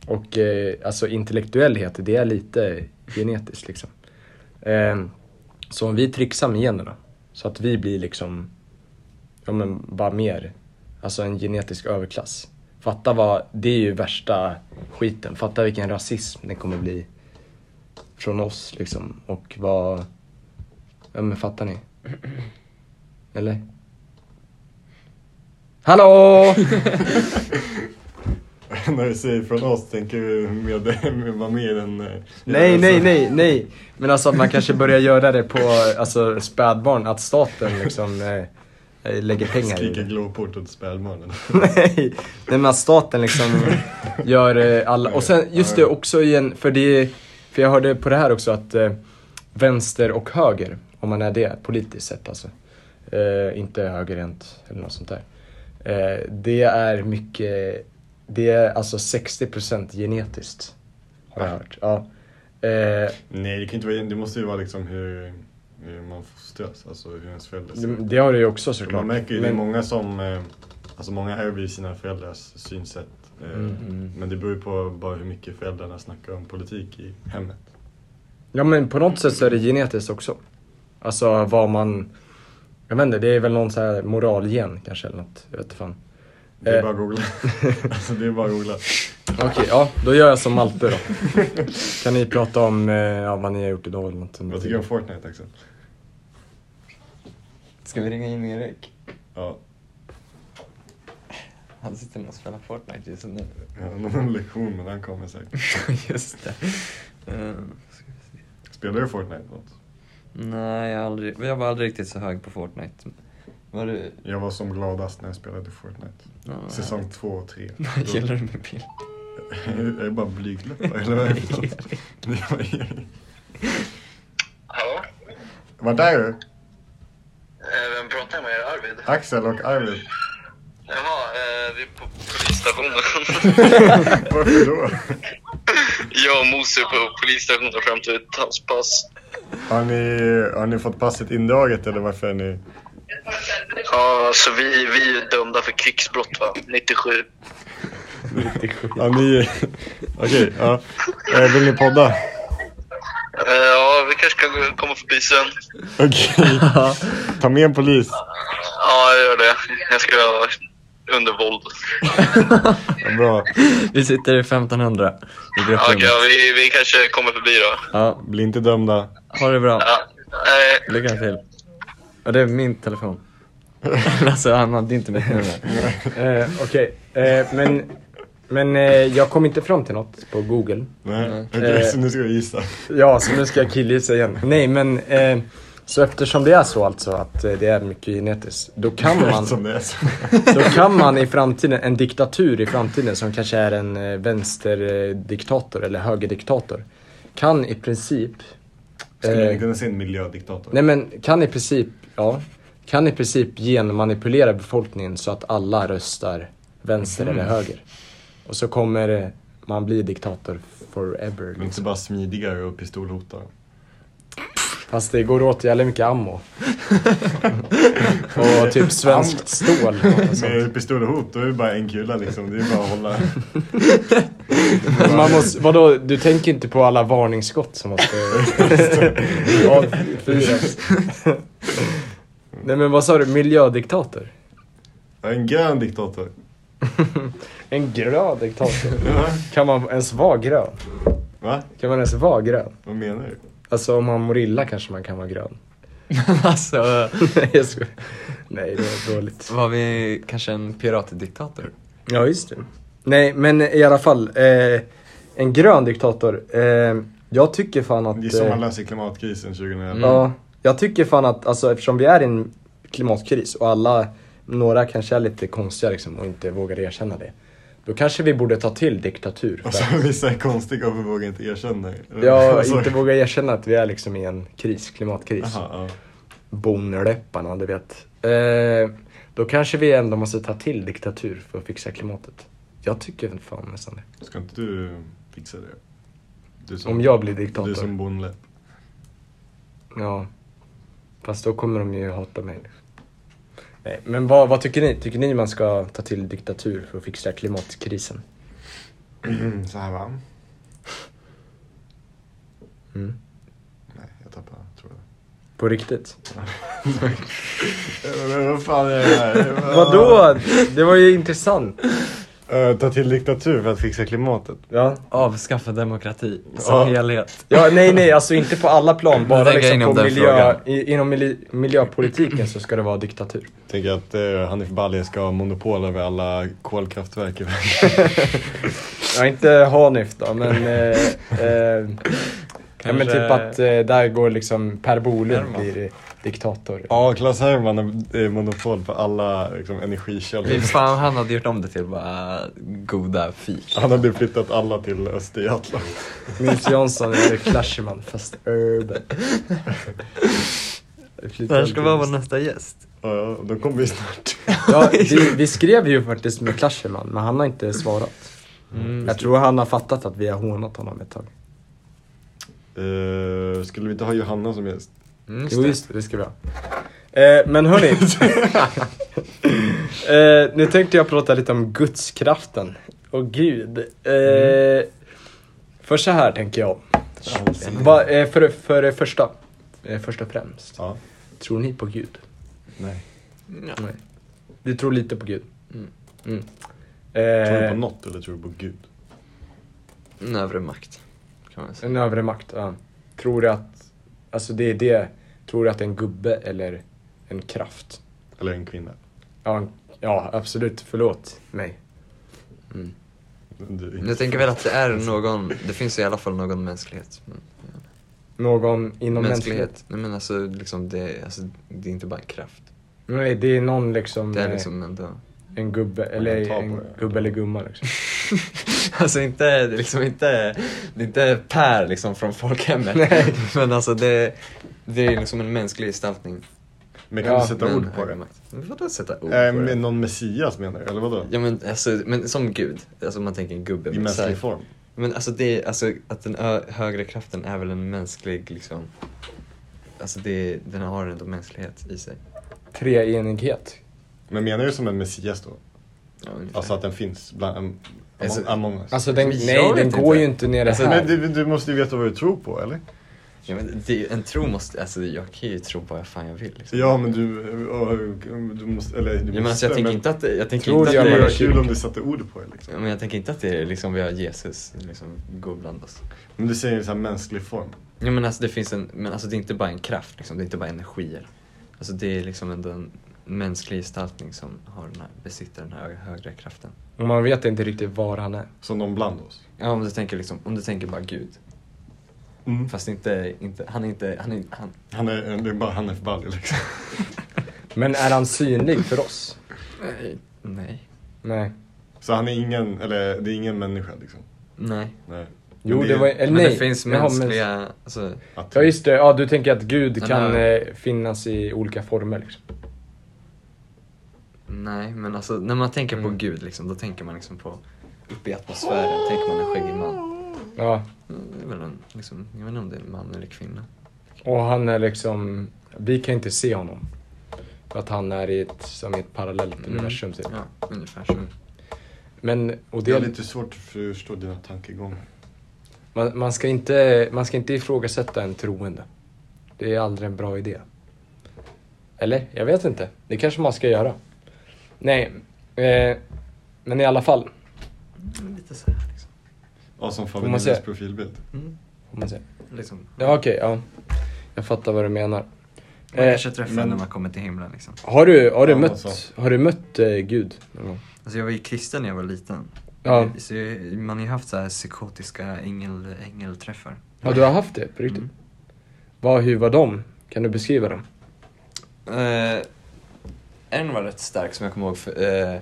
A: Och eh, alltså intellektuellhet, det är lite genetiskt liksom. Eh, så om vi trixar med generna, så att vi blir liksom, ja men bara mer, alltså en genetisk överklass. Fatta vad, det är ju värsta skiten. Fatta vilken rasism det kommer bli från oss liksom. Och vad, ja men fattar ni? Eller? Hallå!
B: när du säger från oss tänker vi med, med, med mer än... eh,
A: Nej,
B: alltså-
A: nej, nej, nej. Men alltså att man kanske börjar göra det på alltså, spädbarn, att staten liksom eh, eh, lägger pengar i
B: Skrika
A: det.
B: glåpord åt spädbarnen.
A: Nej, nej men att staten liksom gör eh, alla. Och sen just det också i en, för det, för jag hörde på det här också att eh, vänster och höger, om man är det politiskt sett alltså. Eh, inte högerhänt eller något sånt där. Eh, det är mycket, det är alltså 60% genetiskt. Har jag hört. Ja. Eh,
B: nej, det kan inte vara, det måste ju vara liksom hur, hur man fostras, alltså hur ens föräldrar ser
A: Det,
B: ut.
A: det har det ju också såklart.
B: Man märker ju, det är
A: Mm, Men-
B: många som, eh, alltså många ärver ju sina föräldrars synsätt. eh,
A: Mm,
B: Men det beror ju på bara hur mycket föräldrarna snackar om politik i hemmet.
A: Ja men på något sätt så är det genetiskt också. Alltså vad man... Jag vet inte, det är väl någon så här moralgen kanske eller något. Jag vet inte fan.
B: Det är
A: Eh.
B: bara
A: Mm.
B: att googla. alltså det är bara att googla.
A: Okej, ja. Då gör jag som Malte då. kan ni prata om eh, ja, vad ni har gjort idag eller något?
B: Vad tycker du om Fortnite Axel?
D: Ska vi ringa in Erik?
B: Ja,
D: Han sitter och spelar Fortnite just nu.
B: jag har någon lektion men han kommer säkert.
I: Just det. Ehm, ska vi se.
B: Spelar du Fortnite något?
I: nej, jag, har aldrig, jag var aldrig riktigt så hög på Fortnite. Var du?
B: Jag var som gladast när jag spelade Fortnite.
I: Ja,
B: Säsong 2 och 3.
I: Vad gillar du med bild?
B: Jag är bara blygdläppar, eller vad är det för något? Det var Erik.
J: Hallå?
B: Vart är du?
J: Eh, Vem pratar jag med? Arvid?
B: Axel och Arvid.
J: Jaha, eh, vi är på polisstationen.
B: Varför då?
J: jag och Mose är på polisstationen fram till ett havspass.
B: Har ni, har ni fått passet indraget eller varför är ni...
J: Ja, alltså vi, vi är dömda för krigsbrott va? 97.
B: Har ni... Okej, ja. Eh, Vill ni podda?
J: Eh, ja, vi kanske kan gå- komma förbi sen.
B: Okej. Ta med en polis.
J: Ja, jag gör det. Jag ska vara under våld.
B: Ja, bra.
I: Vi sitter i 1500 i
J: Okej,
I: gruppen.
J: ja, vi, vi kanske kommer förbi då.
I: Ja,
B: Bli inte dömda.
I: ha det bra.
J: Ja. Eh,
I: Lycka till. Ja, det är min telefon. alltså, han hade inte mitt nummer.
A: Eh, Okej, eh, men... Men eh, jag kom inte fram till något på google.
B: Nej. Okej,
A: Eh.
B: så nu ska vi gissa.
A: Ja, så nu ska jag killgissa igen. Nej men, eh, så eftersom det är så alltså att eh, det är mycket genetiskt. Då kan man...
B: Som det är så.
A: Då kan man i framtiden, en diktatur i framtiden som kanske är en eh, vänsterdiktator eller högerdiktator. Kan i princip...
B: Skulle
A: Eh,
B: ni kunna se en miljödiktator?
A: nej men kan i princip, ja. Kan i princip genmanipulera befolkningen så att alla röstar vänster eller höger. Och så kommer eh, man bli diktator forever.
B: Men inte
A: Liksom.
B: bara smidigare och pistolhotar.
A: Fast det går åt jävligt mycket ammo. och typ svenskt stål. alltså. och sånt.
B: Med pistolhot, då är det bara en kula liksom. Det är bara att hålla.
A: Men Man måste, vadå, du tänker inte på alla varningsskott som måste avfyras? Nej men vad sa du? Miljödiktator?
B: Jag är en grön diktator.
A: En grön diktator?
B: Ja,
A: Kan man ens vara grön?
B: Va?
A: Kan man ens vara grön?
B: Vad menar du?
A: Alltså om man mår illa kanske man kan vara grön.
I: alltså,
A: Nej jag skojar. Nej det är dåligt.
I: var vi kanske en piratdiktator?
A: Ja just det. Nej men i alla fall. Eh, en grön diktator. Eh, jag tycker fan att...
B: Det är som
A: eh,
B: man läser i klimatkrisen 2011.
A: Ja, jag tycker fan att alltså, eftersom vi är i en klimatkris och alla, några kanske är lite konstiga liksom och inte vågar erkänna det. Då kanske vi borde ta till diktatur. För
B: Alltså
A: att,
B: vissa är konstiga och vågar inte erkänna. Eller,
A: ja,
B: alltså-
A: inte våga erkänna att vi är liksom i en kris, klimatkris.
B: Jaha, ja.
A: Bonläpparna, du vet. Eh, då kanske vi ändå måste ta till diktatur för att fixa klimatet. Jag tycker fan nästan det.
B: Ska inte du fixa det? Du
A: Om jag blir diktator.
B: Du som bonde.
A: Ja. Fast då kommer de ju hata mig. Nej, men vad, vad tycker ni? Tycker ni man ska ta till diktatur för att fixa klimatkrisen?
B: Så här va?
A: Mm.
B: Nej, jag tappade tror jag.
A: På riktigt?
B: Men vad fan är det här?
A: Vadå? Det var ju intressant.
B: Eh, ta till diktatur för att fixa klimatet.
A: Ja.
I: Avskaffa demokrati som
B: Ja.
I: helhet.
A: ja, nej, nej, alltså inte på alla plan. Bara
I: tänker
A: liksom
I: inom
A: på
I: den
A: miljö,
I: frågan.
A: i, inom mili, miljöpolitiken så ska det vara diktatur.
B: Tänker att eh, Hanif Bali ska ha monopol över alla kolkraftverk i världen.
A: Ja, inte Hanif då, men... Eh, eh, ja, men
I: Kanske-
A: typ att eh, där går liksom Per Bolund
I: Herman.
A: blir diktator.
B: Ja, Claes Herman har eh, monopol på alla liksom,
I: Fy
B: energikällor.
I: fan, han hade gjort om det till bara goda fik.
B: Han hade flyttat alla till Östergötland.
A: Nils Jansson eller Clasherman fast urban.
I: Där ska vara vår nästa gäst.
B: Ja, de kommer ju snart.
A: Ja, vi, vi skrev ju faktiskt med Clasherman men han har inte svarat. Jag tror han har fattat att vi har hånat honom ett tag.
B: Eh, skulle vi inte ha Johanna som gäst?
I: Mm,
A: Jo just det, det ska vi ha. Eh, men hörni. eh, nu tänkte jag prata lite om gudskraften och Gud. Eh, Först så här tänker jag. Va, eh, för, för det första, eh, först och främst.
B: Ja.
A: Tror ni på Gud?
B: Nej.
A: Nej. Mm. Du tror lite på Gud?
I: Mm.
A: Mm.
B: Tror du
A: Eh,
B: på något eller tror du på Gud?
I: En övre makt, kan man säga.
A: en övre makt, ja. Tror du att, alltså det är det, tror du att det är en gubbe eller en kraft?
B: Eller en kvinna?
A: Ja, en, ja absolut, förlåt mig.
B: Du,
I: Mm. Jag tänker väl att det är någon, det finns i alla fall någon mänsklighet. Men,
A: Någon inom mänsklighet.
I: mänsklighet? Nej men alltså, liksom det, alltså, det är inte bara en kraft.
A: Nej, det är någon liksom,
I: Det är
A: eh,
I: liksom ändå...
A: en gubbe
B: Man
A: eller
B: tar på
A: en
B: det.
A: gubbe eller gumma liksom.
I: Alltså inte, det är liksom inte, det är inte Per liksom från folkhemmet. Men alltså det, det är liksom en mänsklig gestaltning.
B: men kan
A: Ja,
B: du sätta
I: med en
B: ord på
I: högre
B: det?
I: makt. Men Vadå sätta ord på
B: Eh,
I: det?
B: men någon Messias menar du, eller vadå?
I: Ja men alltså, men som gud. Alltså man tänker en gubbe.
B: I
I: men så här-
B: mänsklig form?
I: Men alltså det, alltså att den ö- högre kraften är väl en mänsklig liksom, alltså det, den har ändå mänsklighet i sig.
A: Treenighet.
B: Men menar du som en Messias då?
I: Ja, ungefär.
B: Alltså att den finns bland, am-
I: Alltså-
B: among, among us?
A: Alltså den,
I: Jag
A: nej
I: vet
A: den
I: inte.
A: går ju inte ner
I: Alltså,
A: här.
B: men du, du måste ju veta vad du tror på, eller?
I: ja, men det, en tro måste, alltså jag kan ju tro på vad fan jag vill. Liksom.
B: Ja, men du, ja, du måste, eller du
I: Ja,
B: måste,
I: men alltså, jag tänker inte att det, jag tänker
A: Tror
I: inte att
A: gör
B: det
I: det
A: man
B: är
A: i
B: kul
A: kyrkan.
B: om du satte ord på det liksom.
I: Ja, Men jag tänker inte att det är liksom, vi har Jesus liksom går bland oss.
B: Men du säger ju såhär mänsklig form.
I: Ja men alltså det finns en, men alltså det är inte bara en kraft liksom, det är inte bara energier. Alltså det är liksom ändå en mänsklig gestaltning som har den här, besitter den här högre kraften.
A: Och man vet inte riktigt var han är.
B: Som någon bland oss.
I: Ja om du tänker liksom, om du tänker bara Gud.
B: Mm.
I: Fast inte, inte, han är inte, han är, han,
B: Han är, det är bara han är för ballig liksom.
A: Men är han synlig för oss?
I: nej.
A: Nej.
B: Så han är ingen, eller det är ingen människa liksom.
I: Nej.
B: Nej. Men
A: Jo,
B: är
A: det var, eller
I: Men
A: nej.
I: det finns
A: Jaha, men-
I: mänskliga, alltså,
B: att-
A: Ja just det, ja, du tänker att Gud
I: Den
A: kan
I: här-
A: eh, finnas i olika former liksom.
I: nej men alltså när man tänker på Gud liksom, då tänker man liksom på, uppe i atmosfären tänker man en skäggig man.
A: Ja,
I: Mm, Det är väl en, liksom, jag vet inte om det är en man eller kvinna.
A: och han är liksom, vi kan inte se honom. För att han är i ett, som i ett parallellt
I: Mm.
A: universum typ.
I: Ja, ungefär så.
A: Men, och
B: Det är
A: det,
B: lite svårt att förstå dina tankegångar.
A: man, man, ska inte, man ska inte ifrågasätta en troende. Det är aldrig en bra idé. Eller? Jag vet inte. Det kanske man ska göra. Nej, eh, men i alla fall.
I: Mm, Lite så här liksom.
B: Ja, som
A: Får man säga?
B: Fabianes profilbild.
A: Får man säga.
I: liksom.
A: Ja, okej. ja. Jag fattar vad du menar.
I: Man
A: Eh,
I: kanske träffar
B: men-
I: när man kommer till himlen liksom.
A: Har du, har du
B: Ja, men
A: mött,
B: så.
A: har du mött eh, Gud någon gång?
I: Alltså jag var ju kristen när jag var liten.
A: Ja.
I: Så jag, man har ju haft så här psykotiska ängel, ängelträffar.
A: Ja, du har haft det på riktigt? Vad, hur var de? Kan du beskriva dem?
I: Eh, en var rätt stark som jag kommer ihåg. För, eh,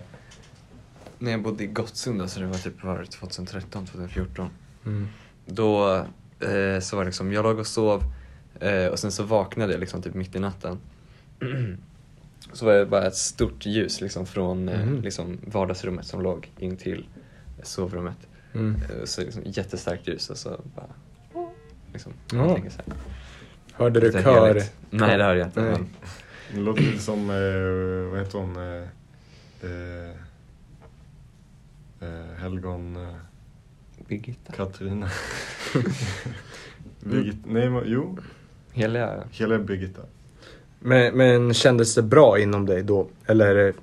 I: när jag bodde i Gottsunda, så det var typ var 2013, 2014.
A: Mm.
I: Då eh, så var det liksom, jag låg och sov eh, och sen så vaknade jag liksom typ mitt i natten. så var det bara ett stort ljus liksom från eh,
A: Mhm.
I: liksom vardagsrummet som låg in till sovrummet.
A: Mm.
I: Eh, Så liksom, jättestarkt ljus och så bara... Liksom, man
A: Ja.
I: tänker så här.
A: Hörde du
I: Lite
A: kör?
I: heligt. Nej, det hörde jag inte.
A: Nej.
I: Men,
B: Det låter lite som, eh, vad heter hon? Eh, eh, eh, Helgon eh,
I: Birgitta.
B: Katarina.
I: Mm.
B: Birgit, nej, men, jo.
I: Heliga...
B: Hela Birgitta.
A: Men, men kändes det bra inom dig då? Eller eh,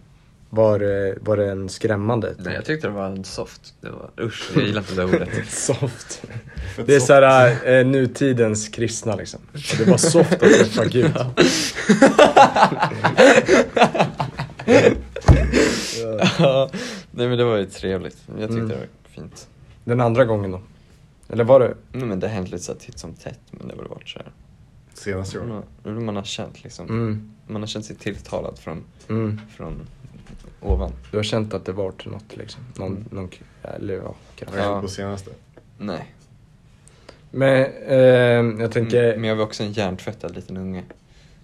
A: var, det- var det en skrämmande?
I: Nej, jag tyckte det var en soft. Det var, usch, jag gillar inte det där ordet.
A: Soft.
B: Fett
A: Det är
B: soft.
A: såhär eh, nutidens kristna liksom. Och Det var soft att träffa Gud.
I: Ja. Nej men det var ju trevligt. Jag tyckte
A: Mm.
I: det var fint.
A: Den andra gången då? Eller var det?
I: Nej, men det har hänt lite så här titt som tätt, men det har väl varit så här.
B: Senaste året.
I: Man, har- man har känt liksom,
A: Mm,
I: man har känt sig tilltalad från,
A: mm.
I: från ovan.
A: Du har känt att det vart något liksom?
I: Mm.
A: Någon, någon, eller ja,
B: Vad
A: kanske.
B: har
I: Ja.
B: hänt på senaste?
I: Nej.
A: Men ehm, jag tänker,
I: Mm, Men jag var också en hjärntvättad liten unge.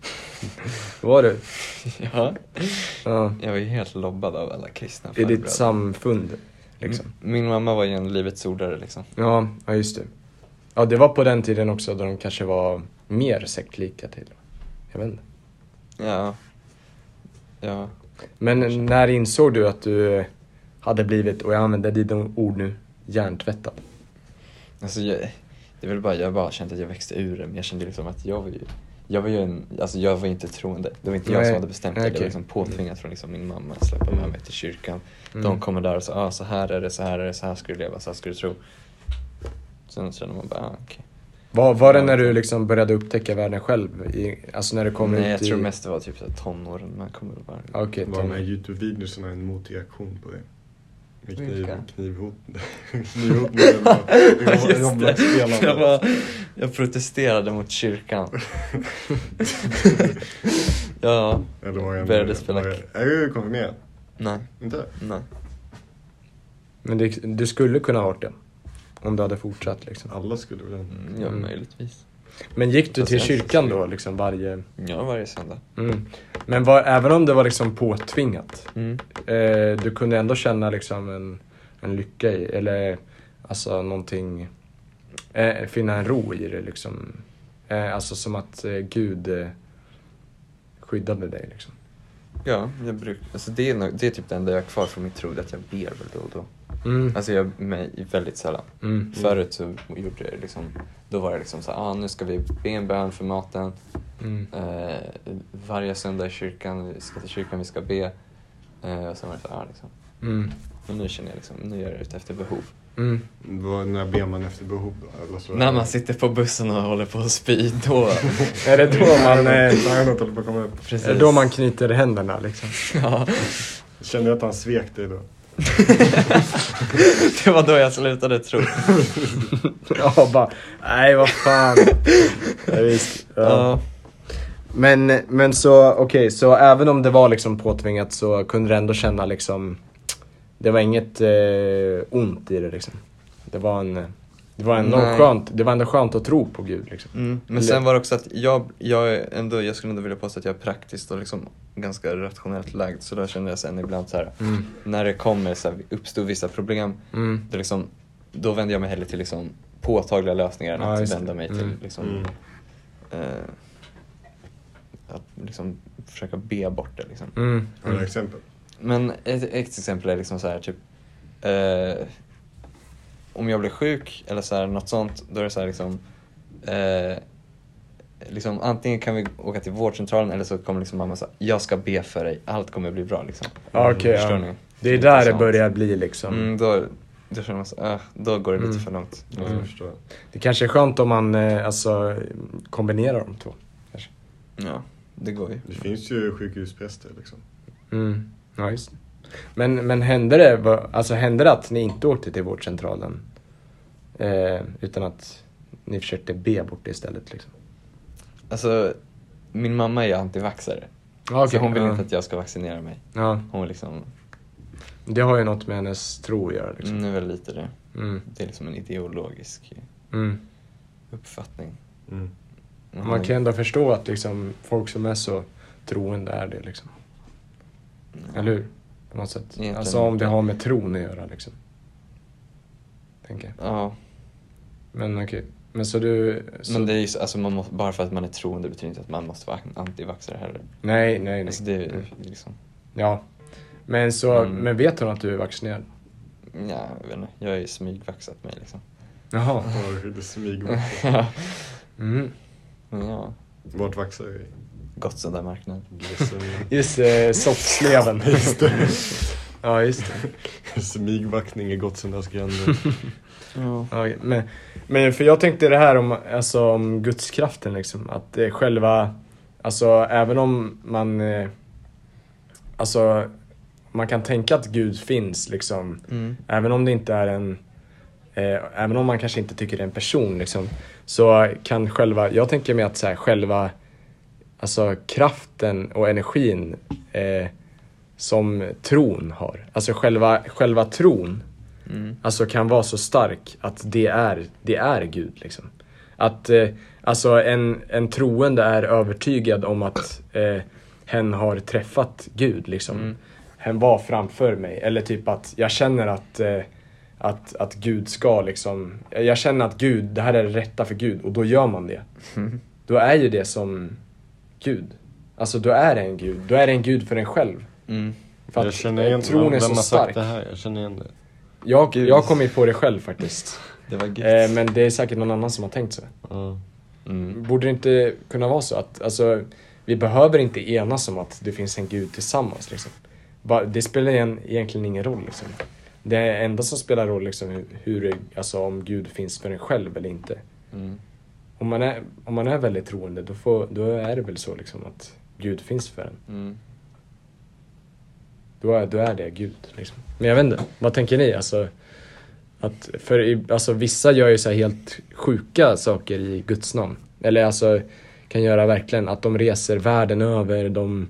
A: var du?
I: Ja.
A: Ja.
I: Jag var ju helt lobbad av alla kristna
A: I ditt
I: farbröder.
A: samfund
I: Mm.
A: liksom?
I: M- Min mamma var ju en livets ordare liksom.
A: Ja, ja just det. Ja, det var på den tiden också då de kanske var mer sektlika till. Jag vet inte.
I: Ja. Ja.
A: Men när insåg du att du hade blivit, och jag använder dina ord nu, hjärntvättad?
I: Alltså jag, det var bara, jag bara kände att jag växte ur det, men jag kände liksom att jag var ju, jag var ju en, alltså jag var inte troende. Det var inte jag
A: Nej,
I: som hade bestämt det, det var
A: okej.
I: liksom påtvingat från liksom min mamma att släppa med mig till kyrkan. De
A: Mm.
I: kommer där och sa, ah, så här är det, så här är det, så här ska du leva, så här ska du tro. Sen kände man bara, ah, okej.
A: Var, var det när du liksom började upptäcka världen själv? I, alltså när du kom ut
I: Nej, jag
A: i...
I: tror mest det var typ så här tonåren, man kommer väl bara...
A: Ja, Okej,
B: Det var de här
A: okay,
B: Youtube-videorna en motreaktion på det. Med kniv,
I: Vilka?
B: knivhot, knivhotningen och Roblox-spelandet.
I: Jag, bara, jag protesterade mot kyrkan. ja,
B: Eller var jag
I: började spela-
B: Var jag, är jag konfirmerad?
I: nej,
B: Inte?
I: nej.
A: Men det, du skulle kunna ha varit det. Om du hade fortsatt liksom.
B: Alla skulle väl ändå-
I: Mm, Ja,
A: Mm.
I: möjligtvis.
A: Men gick du
I: Fast
A: till
I: jag-
A: kyrkan då liksom varje...
I: Ja, varje söndag.
A: Mm. Men var, även om det var liksom påtvingat?
I: Mm.
A: eh, du kunde ändå känna liksom en, en lycka i, eller alltså någonting, eh, finna en ro i det liksom. Eh, alltså som att eh, Gud eh, skyddade dig liksom.
I: Ja, jag bruk, alltså det, är nog, det är typ det enda jag har kvar från min tro, det är att jag ber väl då och då.
A: Mm,
I: Alltså jag mig väldigt sällan.
A: mm,
I: Förut så gjorde jag liksom, då var det liksom så här, ah, nu ska vi be en bön för maten.
A: mm,
I: Eh, varje söndag i kyrkan, vi ska till kyrkan, vi ska be. Eh, och sen var det så här, ah, liksom.
A: mm,
I: Men nu känner jag liksom, nu är jag ute efter behov.
A: mm.
B: Vad- När ber man efter behov då? Eller så
I: När man sitter på bussen och håller på att spy, då...
A: Är det då man,
B: Det
A: eh,
B: här är något håller på att komma upp.
I: Precis.
A: är det då man knyter händerna liksom?
I: Ja,
B: Känner jag att han svek dig då?
I: det var då jag slutade tro.
A: ja, bara, nej vad fan. ja, visst, ja.
I: Ja.
A: Men, men så, okej, så även om det var liksom påtvingat så kunde du ändå känna liksom Det var inget eh, ont i det liksom Det var en, det var ändå
I: Nej.
A: skönt, det var ändå skönt att tro på gud liksom
I: Mm. Men
A: Eller-
I: sen var det också att jag, jag, är ändå, jag skulle ändå vilja påstå att jag är praktiskt och liksom ganska rationellt lagd. Så då kände jag sen ibland så här,
A: Mm.
I: när det kommer så här, uppstod vissa problem,
A: Mm.
I: då, liksom, då vände jag mig hellre till liksom, påtagliga lösningar än
A: Ja,
I: att
A: just det.
I: vända mig till
A: Mm.
I: liksom,
B: Mm.
I: eh, att liksom försöka be bort det. Liksom.
A: Mm.
B: Har du exempel?
I: Men ett, ett exempel är liksom så här typ eh, Om jag blir sjuk eller så här, något sånt, då är det så här liksom eh, liksom, antingen kan vi åka till vårdcentralen eller så kommer liksom mamma säga jag ska be för dig, allt kommer bli bra. Liksom.
A: Ja, okej,
I: Förstår
A: ja.
I: ni?
A: Det är där det börjar bli liksom.
I: Mm, då, då känner man så, ah, då går det lite
A: Mm.
I: för långt.
B: Alltså,
I: Liksom.
B: Jag förstår.
A: Det kanske är skönt om man eh, alltså, kombinerar de två.
I: Ja, det går ju.
B: Det finns ju sjukhuspräster liksom.
A: Mm. Ja, just det. Men, men hände, det, va- alltså, hände det att ni inte åkte till vårdcentralen? Eh, utan att ni försökte be bort det istället? Liksom.
I: Alltså, min mamma är ju antivaxare.
A: Ja,
I: Så hon vill
A: ja.
I: inte att jag ska vaccinera mig.
A: Ja,
I: Hon vill liksom,
A: det har ju något med hennes tro att göra. Liksom.
I: nu är väl lite det.
A: Mm.
I: Det är liksom en ideologisk
A: Mm.
I: uppfattning.
B: Mm.
I: Men
A: Man
I: hon-
A: kan ändå förstå att liksom, folk som är så troende är det. Liksom. Eller hur? På något sätt.
I: Egentligen.
A: Alltså om det har med tron att göra. Liksom. Tänker jag.
I: Ja,
A: Men okej. Men så du... Så,
I: men det är ju så, alltså man måste, bara för att man är troende betyder inte att man måste vara antivaxare
A: Mm.
I: heller.
A: Nej, nej, Mm. nej.
I: Alltså det är ju liksom,
A: Ja. Men, så,
I: Mm.
A: men vet hon att du är vaccinerad?
I: ja, jag vet inte, jag är ju smygvaxat mig liksom.
A: Jaha.
B: Ja, hur det smyger.
A: Mm.
I: Men ja,
B: Vart vaxar vi?
I: gott sådär marknad.
B: Glesen-
A: Just eh, soppsleven.
B: Just det.
A: ja, just det.
B: Smygvaktning är Gottsundas gränder.
A: Ja, okej. men, men för jag tänkte det här om, alltså, om gudskraften liksom. Att det är själva, alltså även om man, eh, alltså man kan tänka att Gud finns liksom. Även om det inte är en, eh, även om man kanske inte tycker det är en person liksom. Så kan själva, jag tänker mig att så här, själva, alltså kraften och energin eh, som tron har. Alltså själva, själva tron alltså kan vara så stark att det är, det är Gud. Liksom. Att eh, alltså en, en troende är övertygad om att eh, hen har träffat Gud. Liksom. Hen var framför mig. Eller typ att jag känner att, eh, att, att Gud ska liksom, jag känner att Gud, det här är det rätta för Gud och då gör man det. Då är ju det som Gud. Alltså då är det en Gud, då är det en Gud för en själv.
I: Mm.
A: För
B: Jag
A: att
B: känner
A: eh,
B: igen
A: tron
B: vem, vem
A: är så
B: har
A: stark.
B: sagt det här? Jag känner igen det.
A: Jag, jag har kommit på det själv faktiskt.
I: Det var gött.
A: Eh, men det är säkert någon annan som har tänkt så.
B: Ja.
I: Mm.
A: Borde det inte kunna vara så att alltså, vi behöver inte enas om att det finns en gud tillsammans. Liksom. Ba- Det spelar en- egentligen ingen roll. Liksom. Det enda som spelar roll liksom, hur, hur, alltså, om Gud finns för en själv eller inte.
I: Mm.
A: Om man är, om man är väldigt troende då, får, då är det väl så liksom, att Gud finns för en.
I: Mm.
A: Då är, då är det Gud. Liksom. Men jag vet inte, vad tänker ni? Alltså, att för, i- alltså, vissa gör ju så här helt sjuka saker i Guds namn. Eller alltså kan göra verkligen att de reser världen över. De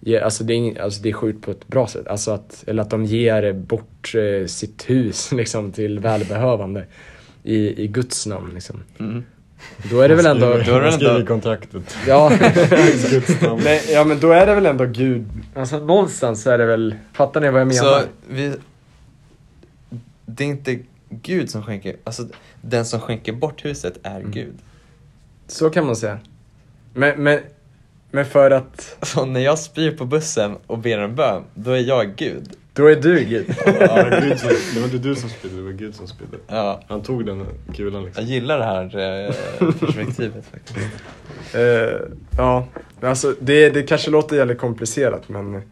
A: ger, alltså, det är, ing- alltså det är sjukt på ett bra sätt. Alltså att, eller att de ger bort eh, sitt hus liksom, till välbehövande i, i Guds namn. Liksom.
I: Mm.
A: Då är det väl ändå...
B: Skriver-
I: då är det
B: skriver
I: ändå-
B: i kontraktet.
A: Ja.
B: Guds namn.
A: Nej, ja men då är det väl ändå Gud. Alltså någonstans är det väl, fattar ni vad jag menar?
I: Så vi, det är inte Gud som skänker, alltså den som skänker bort huset är
A: Mm.
I: Gud.
A: Så kan man säga. Men, men, men för att
I: Så när jag spyr på bussen och ber en bön, då är jag Gud.
A: då är du Gud.
B: Ja, det var Gud som- det var inte du som spydde, det var Gud som spydde.
I: Ja,
B: Han tog den kulan liksom.
I: jag gillar det här eh, perspektivet faktiskt.
A: Eh, ja, alltså det, det kanske låter jävligt komplicerat men,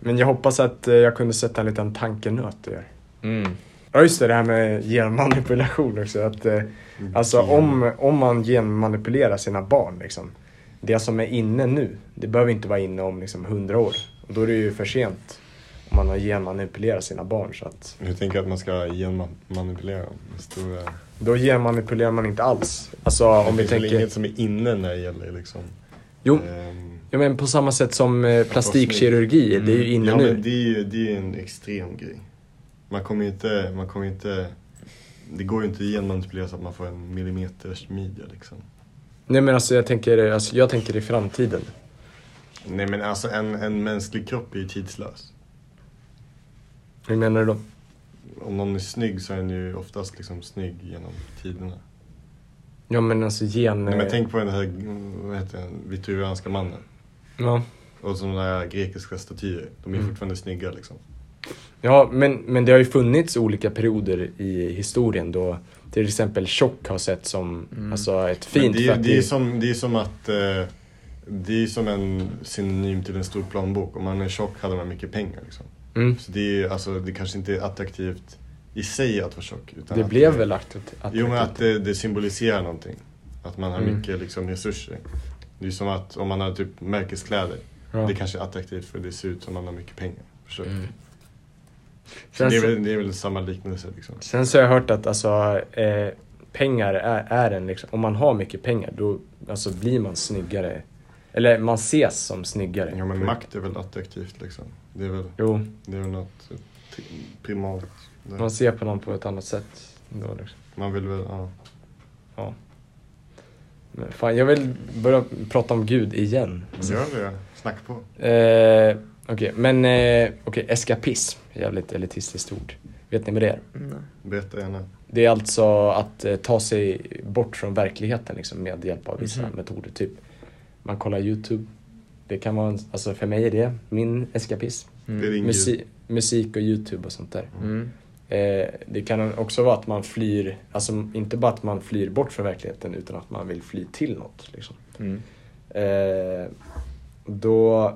A: men jag hoppas att eh, jag kunde sätta en liten tankenöt i er.
I: Mm.
A: Ja just det, det här med genmanipulation också. Att, eh,
B: Mm.
A: alltså om, om man genmanipulerar sina barn liksom. Det som är inne nu, det behöver inte vara inne om liksom hundra år. Och då är det ju för sent om man har genmanipulerat sina barn så att
B: Nu tänker jag att man ska genmanipulera dem. Det stora...
A: Då genmanipulerar man inte alls. Alltså om
B: det
A: vi
B: finns väl
A: tänker...
B: inget som är inne när det gäller liksom.
A: Jo,
B: ehm,
A: ja, men på samma sätt som eh, plastikkirurgi, det är ju inne
B: Mm. ja,
A: nu.
B: men det är ju det är ju en extrem grej. Man kommer ju inte, man kommer ju inte, det går ju inte att genmanipulera så att man får en millimeters midja liksom.
A: Nej men alltså jag tänker, alltså, jag tänker i framtiden.
B: Nej men alltså en, en mänsklig kropp är ju tidslös.
A: Hur menar du då?
B: Om någon är snygg så är den ju oftast liksom snygg genom tiderna.
A: Ja men alltså gen...
B: Nej, men
A: eh,
B: tänk på den här, vad heter den, vitruvianska mannen.
A: ja. Mm.
B: Och sådana där grekiska statyer, de är fortfarande snygga liksom.
A: Ja, men, men det har ju funnits olika perioder i historien då till exempel tjock har sett som alltså, ett
B: Mm. Men
A: fint
B: det,
A: för
B: är,
A: att
B: det, är som, det är som att... Eh, det är som en synonym till en stor plånbok. Om man är tjock hade man mycket pengar. Liksom.
A: mm,
B: Så det, är, alltså, det kanske inte är attraktivt i sig att vara tjock. Utan
A: det
B: att
A: blev väl attraktivt?
B: Jo men att
A: attraktivt.
B: det, det symboliserar någonting. Att man har
A: Mm.
B: mycket liksom, resurser. Det är som att om man har typ märkeskläder.
A: Ja.
B: Det kanske är attraktivt för det ser ut som att man har mycket pengar. Förstår du?
A: Mm.
B: Så det, är
A: Sen,
B: väl, det är väl samma liknelse liksom.
A: sen så har jag hört att alltså, eh, pengar är, är en, liksom, om man har mycket pengar då alltså, blir man snyggare. Eller man ses som snyggare.
B: Ja men makt är väl attraktivt liksom. Det är väl,
A: Jo,
B: det är väl något eh, pri- primat. där.
A: man ser på någon på ett annat sätt. Då, liksom.
B: Man vill väl, ja.
A: Men Fan, jag vill börja prata om Gud igen.
B: Gör det, snacka på.
A: Eh, Okej, men eh, okej, eskapism. Jävligt elitistiskt ord. Vet ni vad det är?
B: Berätta gärna.
A: Det är alltså att eh, ta sig bort från verkligheten liksom, med hjälp av vissa metoder. Typ, man kollar YouTube. Det kan vara en, alltså för mig är det min eskapism.
B: Det är din
A: Musi-
B: gud.
A: musik och YouTube och sånt där.
I: Mm,
A: Eh, det kan också vara att man flyr, alltså inte bara att man flyr bort från verkligheten utan att man vill fly till något. Liksom.
I: mm.
A: Eh, då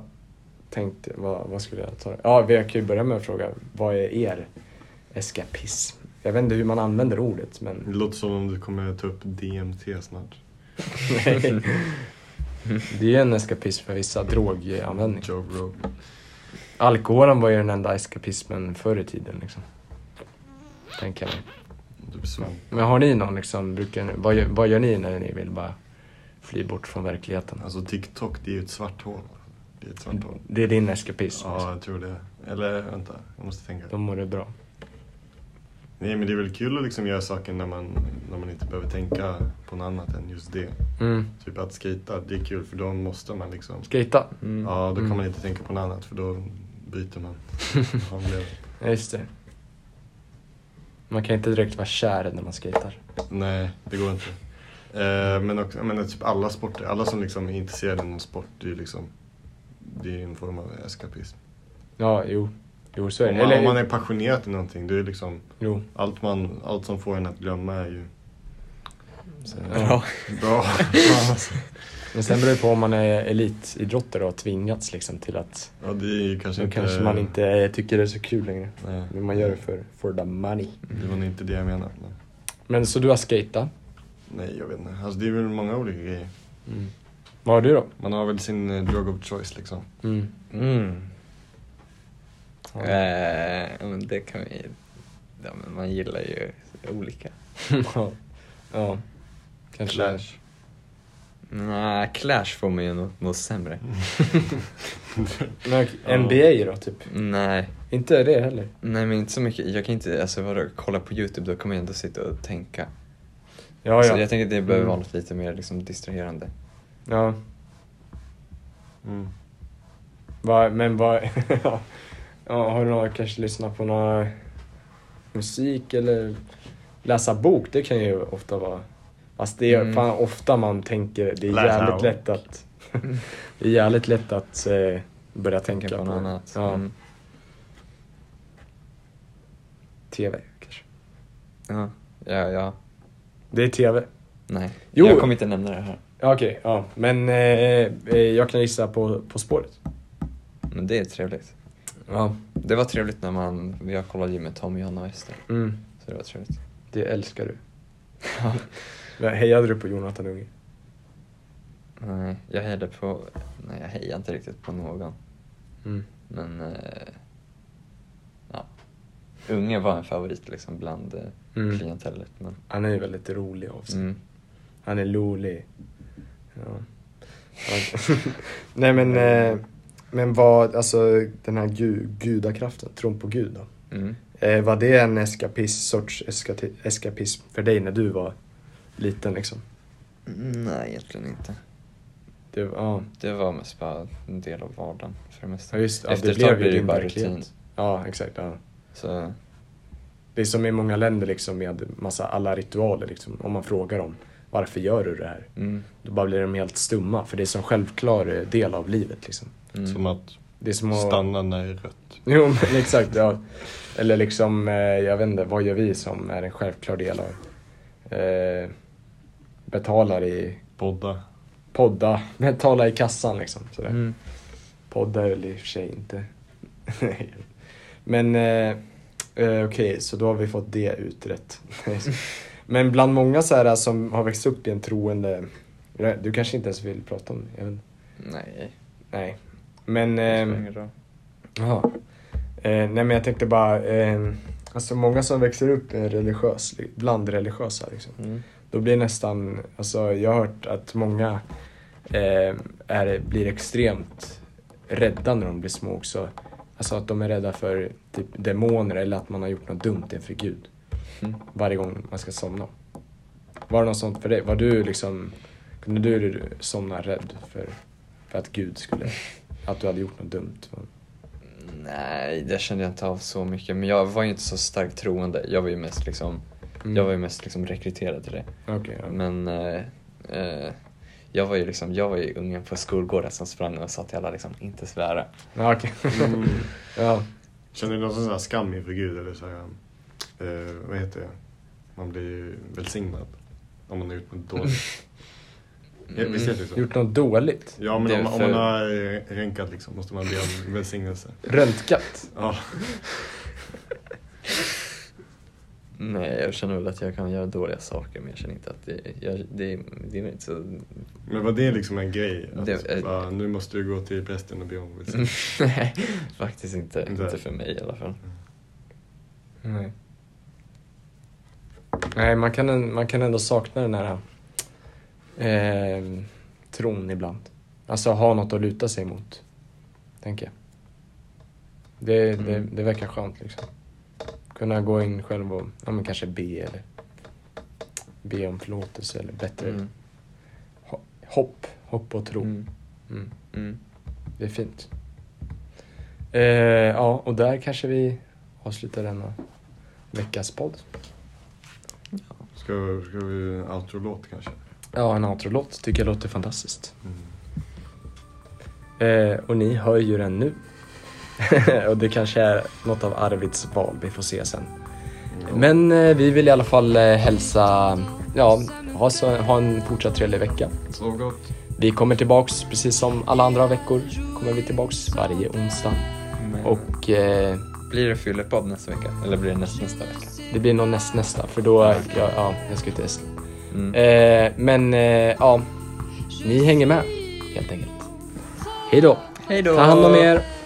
A: tänkte vad, vad skulle jag ta? Ja, vi kan ju börja med att fråga, vad är er eskapism? Jag vet inte hur man använder ordet,
B: Det
A: men
B: låter som om du kommer ta upp DMT snart.
A: det är ju en eskapism för vissa, droganvändning.
B: Joe Rogan.
A: Alkoholen var ju den enda eskapismen förr i tiden. Liksom. Tänker jag.
B: Du svamp.
A: Men har ni någon liksom, brukar ni, vad, gör, vad gör ni när ni vill bara fly bort från verkligheten?
B: Alltså TikTok, det är ju ett svart hål. Det är ett svart hål.
A: Det är din eskapism.
B: Ja,
A: liksom.
B: jag tror det. Eller vänta, jag måste tänka.
A: Då mår du bra.
B: Nej men det är väl kul att liksom göra saker när man, när man inte behöver tänka på något annat än just det.
A: Mm.
B: Typ att skita, det är kul för då måste man liksom.
A: Skejta?
B: Ja, då kan
A: Mm.
B: man inte tänka på något annat för då byter man. man blir,
A: Ja, just det. Man kan inte direkt vara kär när man skejtar.
B: nej, det går inte. Eh, men också, jag menar, typ alla sporter, alla som liksom är intresserade av någon sport, det är ju liksom det är en form av eskapism.
A: Ja, jo. Jo, så är
B: Om
A: det.
B: man, om man
A: Eller,
B: är passionerad i någonting, det är liksom
A: jo.
B: allt, man, allt som får en att glömma är ju
A: Ja.
B: bra.
A: Men sen beror det på om man är elitidrottare och har tvingats liksom till att
B: ja, det är ju kanske
A: då
B: inte...
A: kanske man inte eh, tycker det är så kul längre.
B: Nej,
A: Men man gör det för, for the money.
B: det var nog inte det jag menade. Men,
A: Men så du har skejtat.
B: nej, jag vet inte. Alltså, det är väl många olika grejer.
A: Vad har du då?
B: Man har väl sin eh, drug of choice liksom.
A: Mm.
I: Mm. Eh, ja, men det kan vi... Ja, men man gillar ju olika.
A: ja. ja. Kanske.
I: Nej, Clash får man ju något, något sämre.
A: Mm.
B: Mm.
A: Men, NBA då, typ?
I: Nej.
A: Inte det heller.
I: Nej men inte så mycket, jag kan inte, alltså vadå, kolla på youtube då kommer jag ändå sitta och tänka.
A: Ja,
I: Så
A: ja.
I: jag tänker att det behöver
A: Mm.
I: vara något lite mer liksom distraherande.
A: ja.
B: Mm.
A: Va, men vad... ja, har du några, kanske lyssnat på några musik eller läsa bok? Det kan ju ofta vara... Fast det är
I: Mm.
A: fan ofta man tänker, det är
B: Läsa
A: jävligt
B: bok.
A: lätt att... det är jävligt lätt att eh, börja tänka,
I: Tänka på något annat.
A: Ja,
I: Mm.
A: TV kanske.
I: Ja, ja, ja.
A: Det är TV.
I: Nej.
A: Jo.
I: Jag kommer inte nämna det här.
A: Ja, Okej, ja. Men eh, eh, jag kan gissa på På spåret.
I: Men det är trevligt.
A: Ja.
I: Det var trevligt när man, jag kollade ju med Tom, Johanna och Ester.
A: Mm.
I: Så det var trevligt.
A: Det älskar du. Men Hejade du på Jonathan Unge?
I: Nej, jag hejade på, nej jag hejade inte riktigt på någon.
A: Mm.
I: Men, eh, ja. Unge var en favorit liksom bland eh,
A: Mm.
I: klientellet. Men,
A: Han är ju väldigt rolig av sig.
I: mm.
A: Han är rolig. Ja. Ja. Nej men, eh, men vad, alltså den här gu, gudakraften, tron på gud då.
I: Mm.
A: Eh, var det en eskapism, sorts eskati, eskapism för dig när du var liten liksom?
I: Nej, egentligen inte.
A: Det, var- ja,
I: Det var mest bara en del av vardagen för det mesta.
A: ja just ja,
I: Efter
A: det
I: ett tag
A: blev ju
I: blir det
A: din
I: bara
A: verklighet.
I: rutin.
A: Ja, exakt. Ja.
I: Så,
A: Det är som i många länder liksom med massa alla ritualer liksom. Om man frågar dem, varför gör du det här?
I: mm,
A: Då bara blir de helt stumma, för det är en sån självklar eh, del av livet liksom.
I: mm.
B: Som att
A: Det är som att...
B: Stanna när det är rött.
A: Jo, men exakt. Ja. Eller liksom, eh, jag vet inte, vad gör vi som är en självklar del av eh, betalar i
B: Podda.
A: podda, betala i kassan liksom. Sådär.
G: Mm.
A: Podda är väl i och för sig inte. Nej. Men eh, eh, okej, så då har vi fått det utrett. Men bland många så här som har växt upp i en troende, du kanske inte ens vill prata om det? jag vet inte.
I: Nej.
A: Nej. Men...
I: det
A: ehm,
I: spelar ingen roll.
A: Jaha. Eh, nej men jag tänkte bara, eh, alltså många som växer upp är religiös, bland religiösa liksom.
I: Mm.
A: Då blir det nästan, alltså jag har hört att många eh, är, blir extremt rädda när de blir små också. Alltså att de är rädda för typ demoner eller att man har gjort något dumt inför Gud.
I: Mm.
A: Varje gång man ska somna. Var det något sånt för dig? Var du liksom, kunde du somna rädd för, för att Gud skulle, att du hade gjort något dumt?
I: Nej, det kände jag inte av så mycket. Men jag var ju inte så starkt troende. Jag var ju mest liksom,
A: Mm.
I: jag var ju mest liksom rekryterad till det.
A: Okej, ja.
I: Men eh, eh, jag var ju liksom, jag var ju ungen på skolgården som sprang och sa till alla liksom, inte svära.
A: Ja, okej. ja.
B: Mm. Känner du någon sån här skam inför Gud eller så här, eh, vad heter det? Man blir ju välsignad om man har gjort något dåligt. Ja, Visst heter det så?
A: Gjort något dåligt?
B: Ja, men
I: Det är
B: om, om
I: för-
B: man har eh, ränkat liksom måste man be om välsignelse.
A: Röntgat?
B: Ja.
I: Nej, jag känner väl att jag kan göra dåliga saker men jag känner inte att det, jag, det, det är inte så...
B: Men var det liksom en grej? Att
I: Det- eh,
B: bara, nu måste du gå till prästen och be om välsignelse.
I: Nej, faktiskt inte.
B: Inte?
I: Inte för mig i alla fall.
A: Nej. Nej, man kan, man kan ändå sakna den här eh, tron ibland. Alltså ha något att luta sig mot, tänker jag. Det,
I: Mm.
A: det, det verkar skönt liksom. Kunna gå in själv och ja, men kanske be eller be om förlåtelse eller bättre
I: Mm.
A: ho- hopp, hopp och tro.
I: Mm.
A: Mm.
I: Mm.
A: Det är fint. Eh, ja, och där kanske vi avslutar denna veckas podd.
B: Ska, ska vi outro-låt kanske?
A: Ja, en outro-låt tycker jag låter fantastiskt.
B: Mm.
A: Eh, och ni hör ju den nu. och det kanske är något av Arvids val, vi får se sen. Men eh, vi vill i alla fall eh, hälsa, ja, ha, så, ha en fortsatt trevlig vecka.
B: Så gott.
A: Vi kommer tillbaks, precis som alla andra veckor, kommer vi tillbaks varje onsdag.
I: Men,
A: Och eh,
I: Blir det fyllepodd nästa vecka? Eller blir det näst, nästa vecka?
A: Det blir nog näst, nästa, för då... Ja, ja jag ska till Estland.
I: Mm.
A: Eh, men eh, ja, ni hänger med helt enkelt. Hej då.
I: Hej då!
A: Ta hand om er.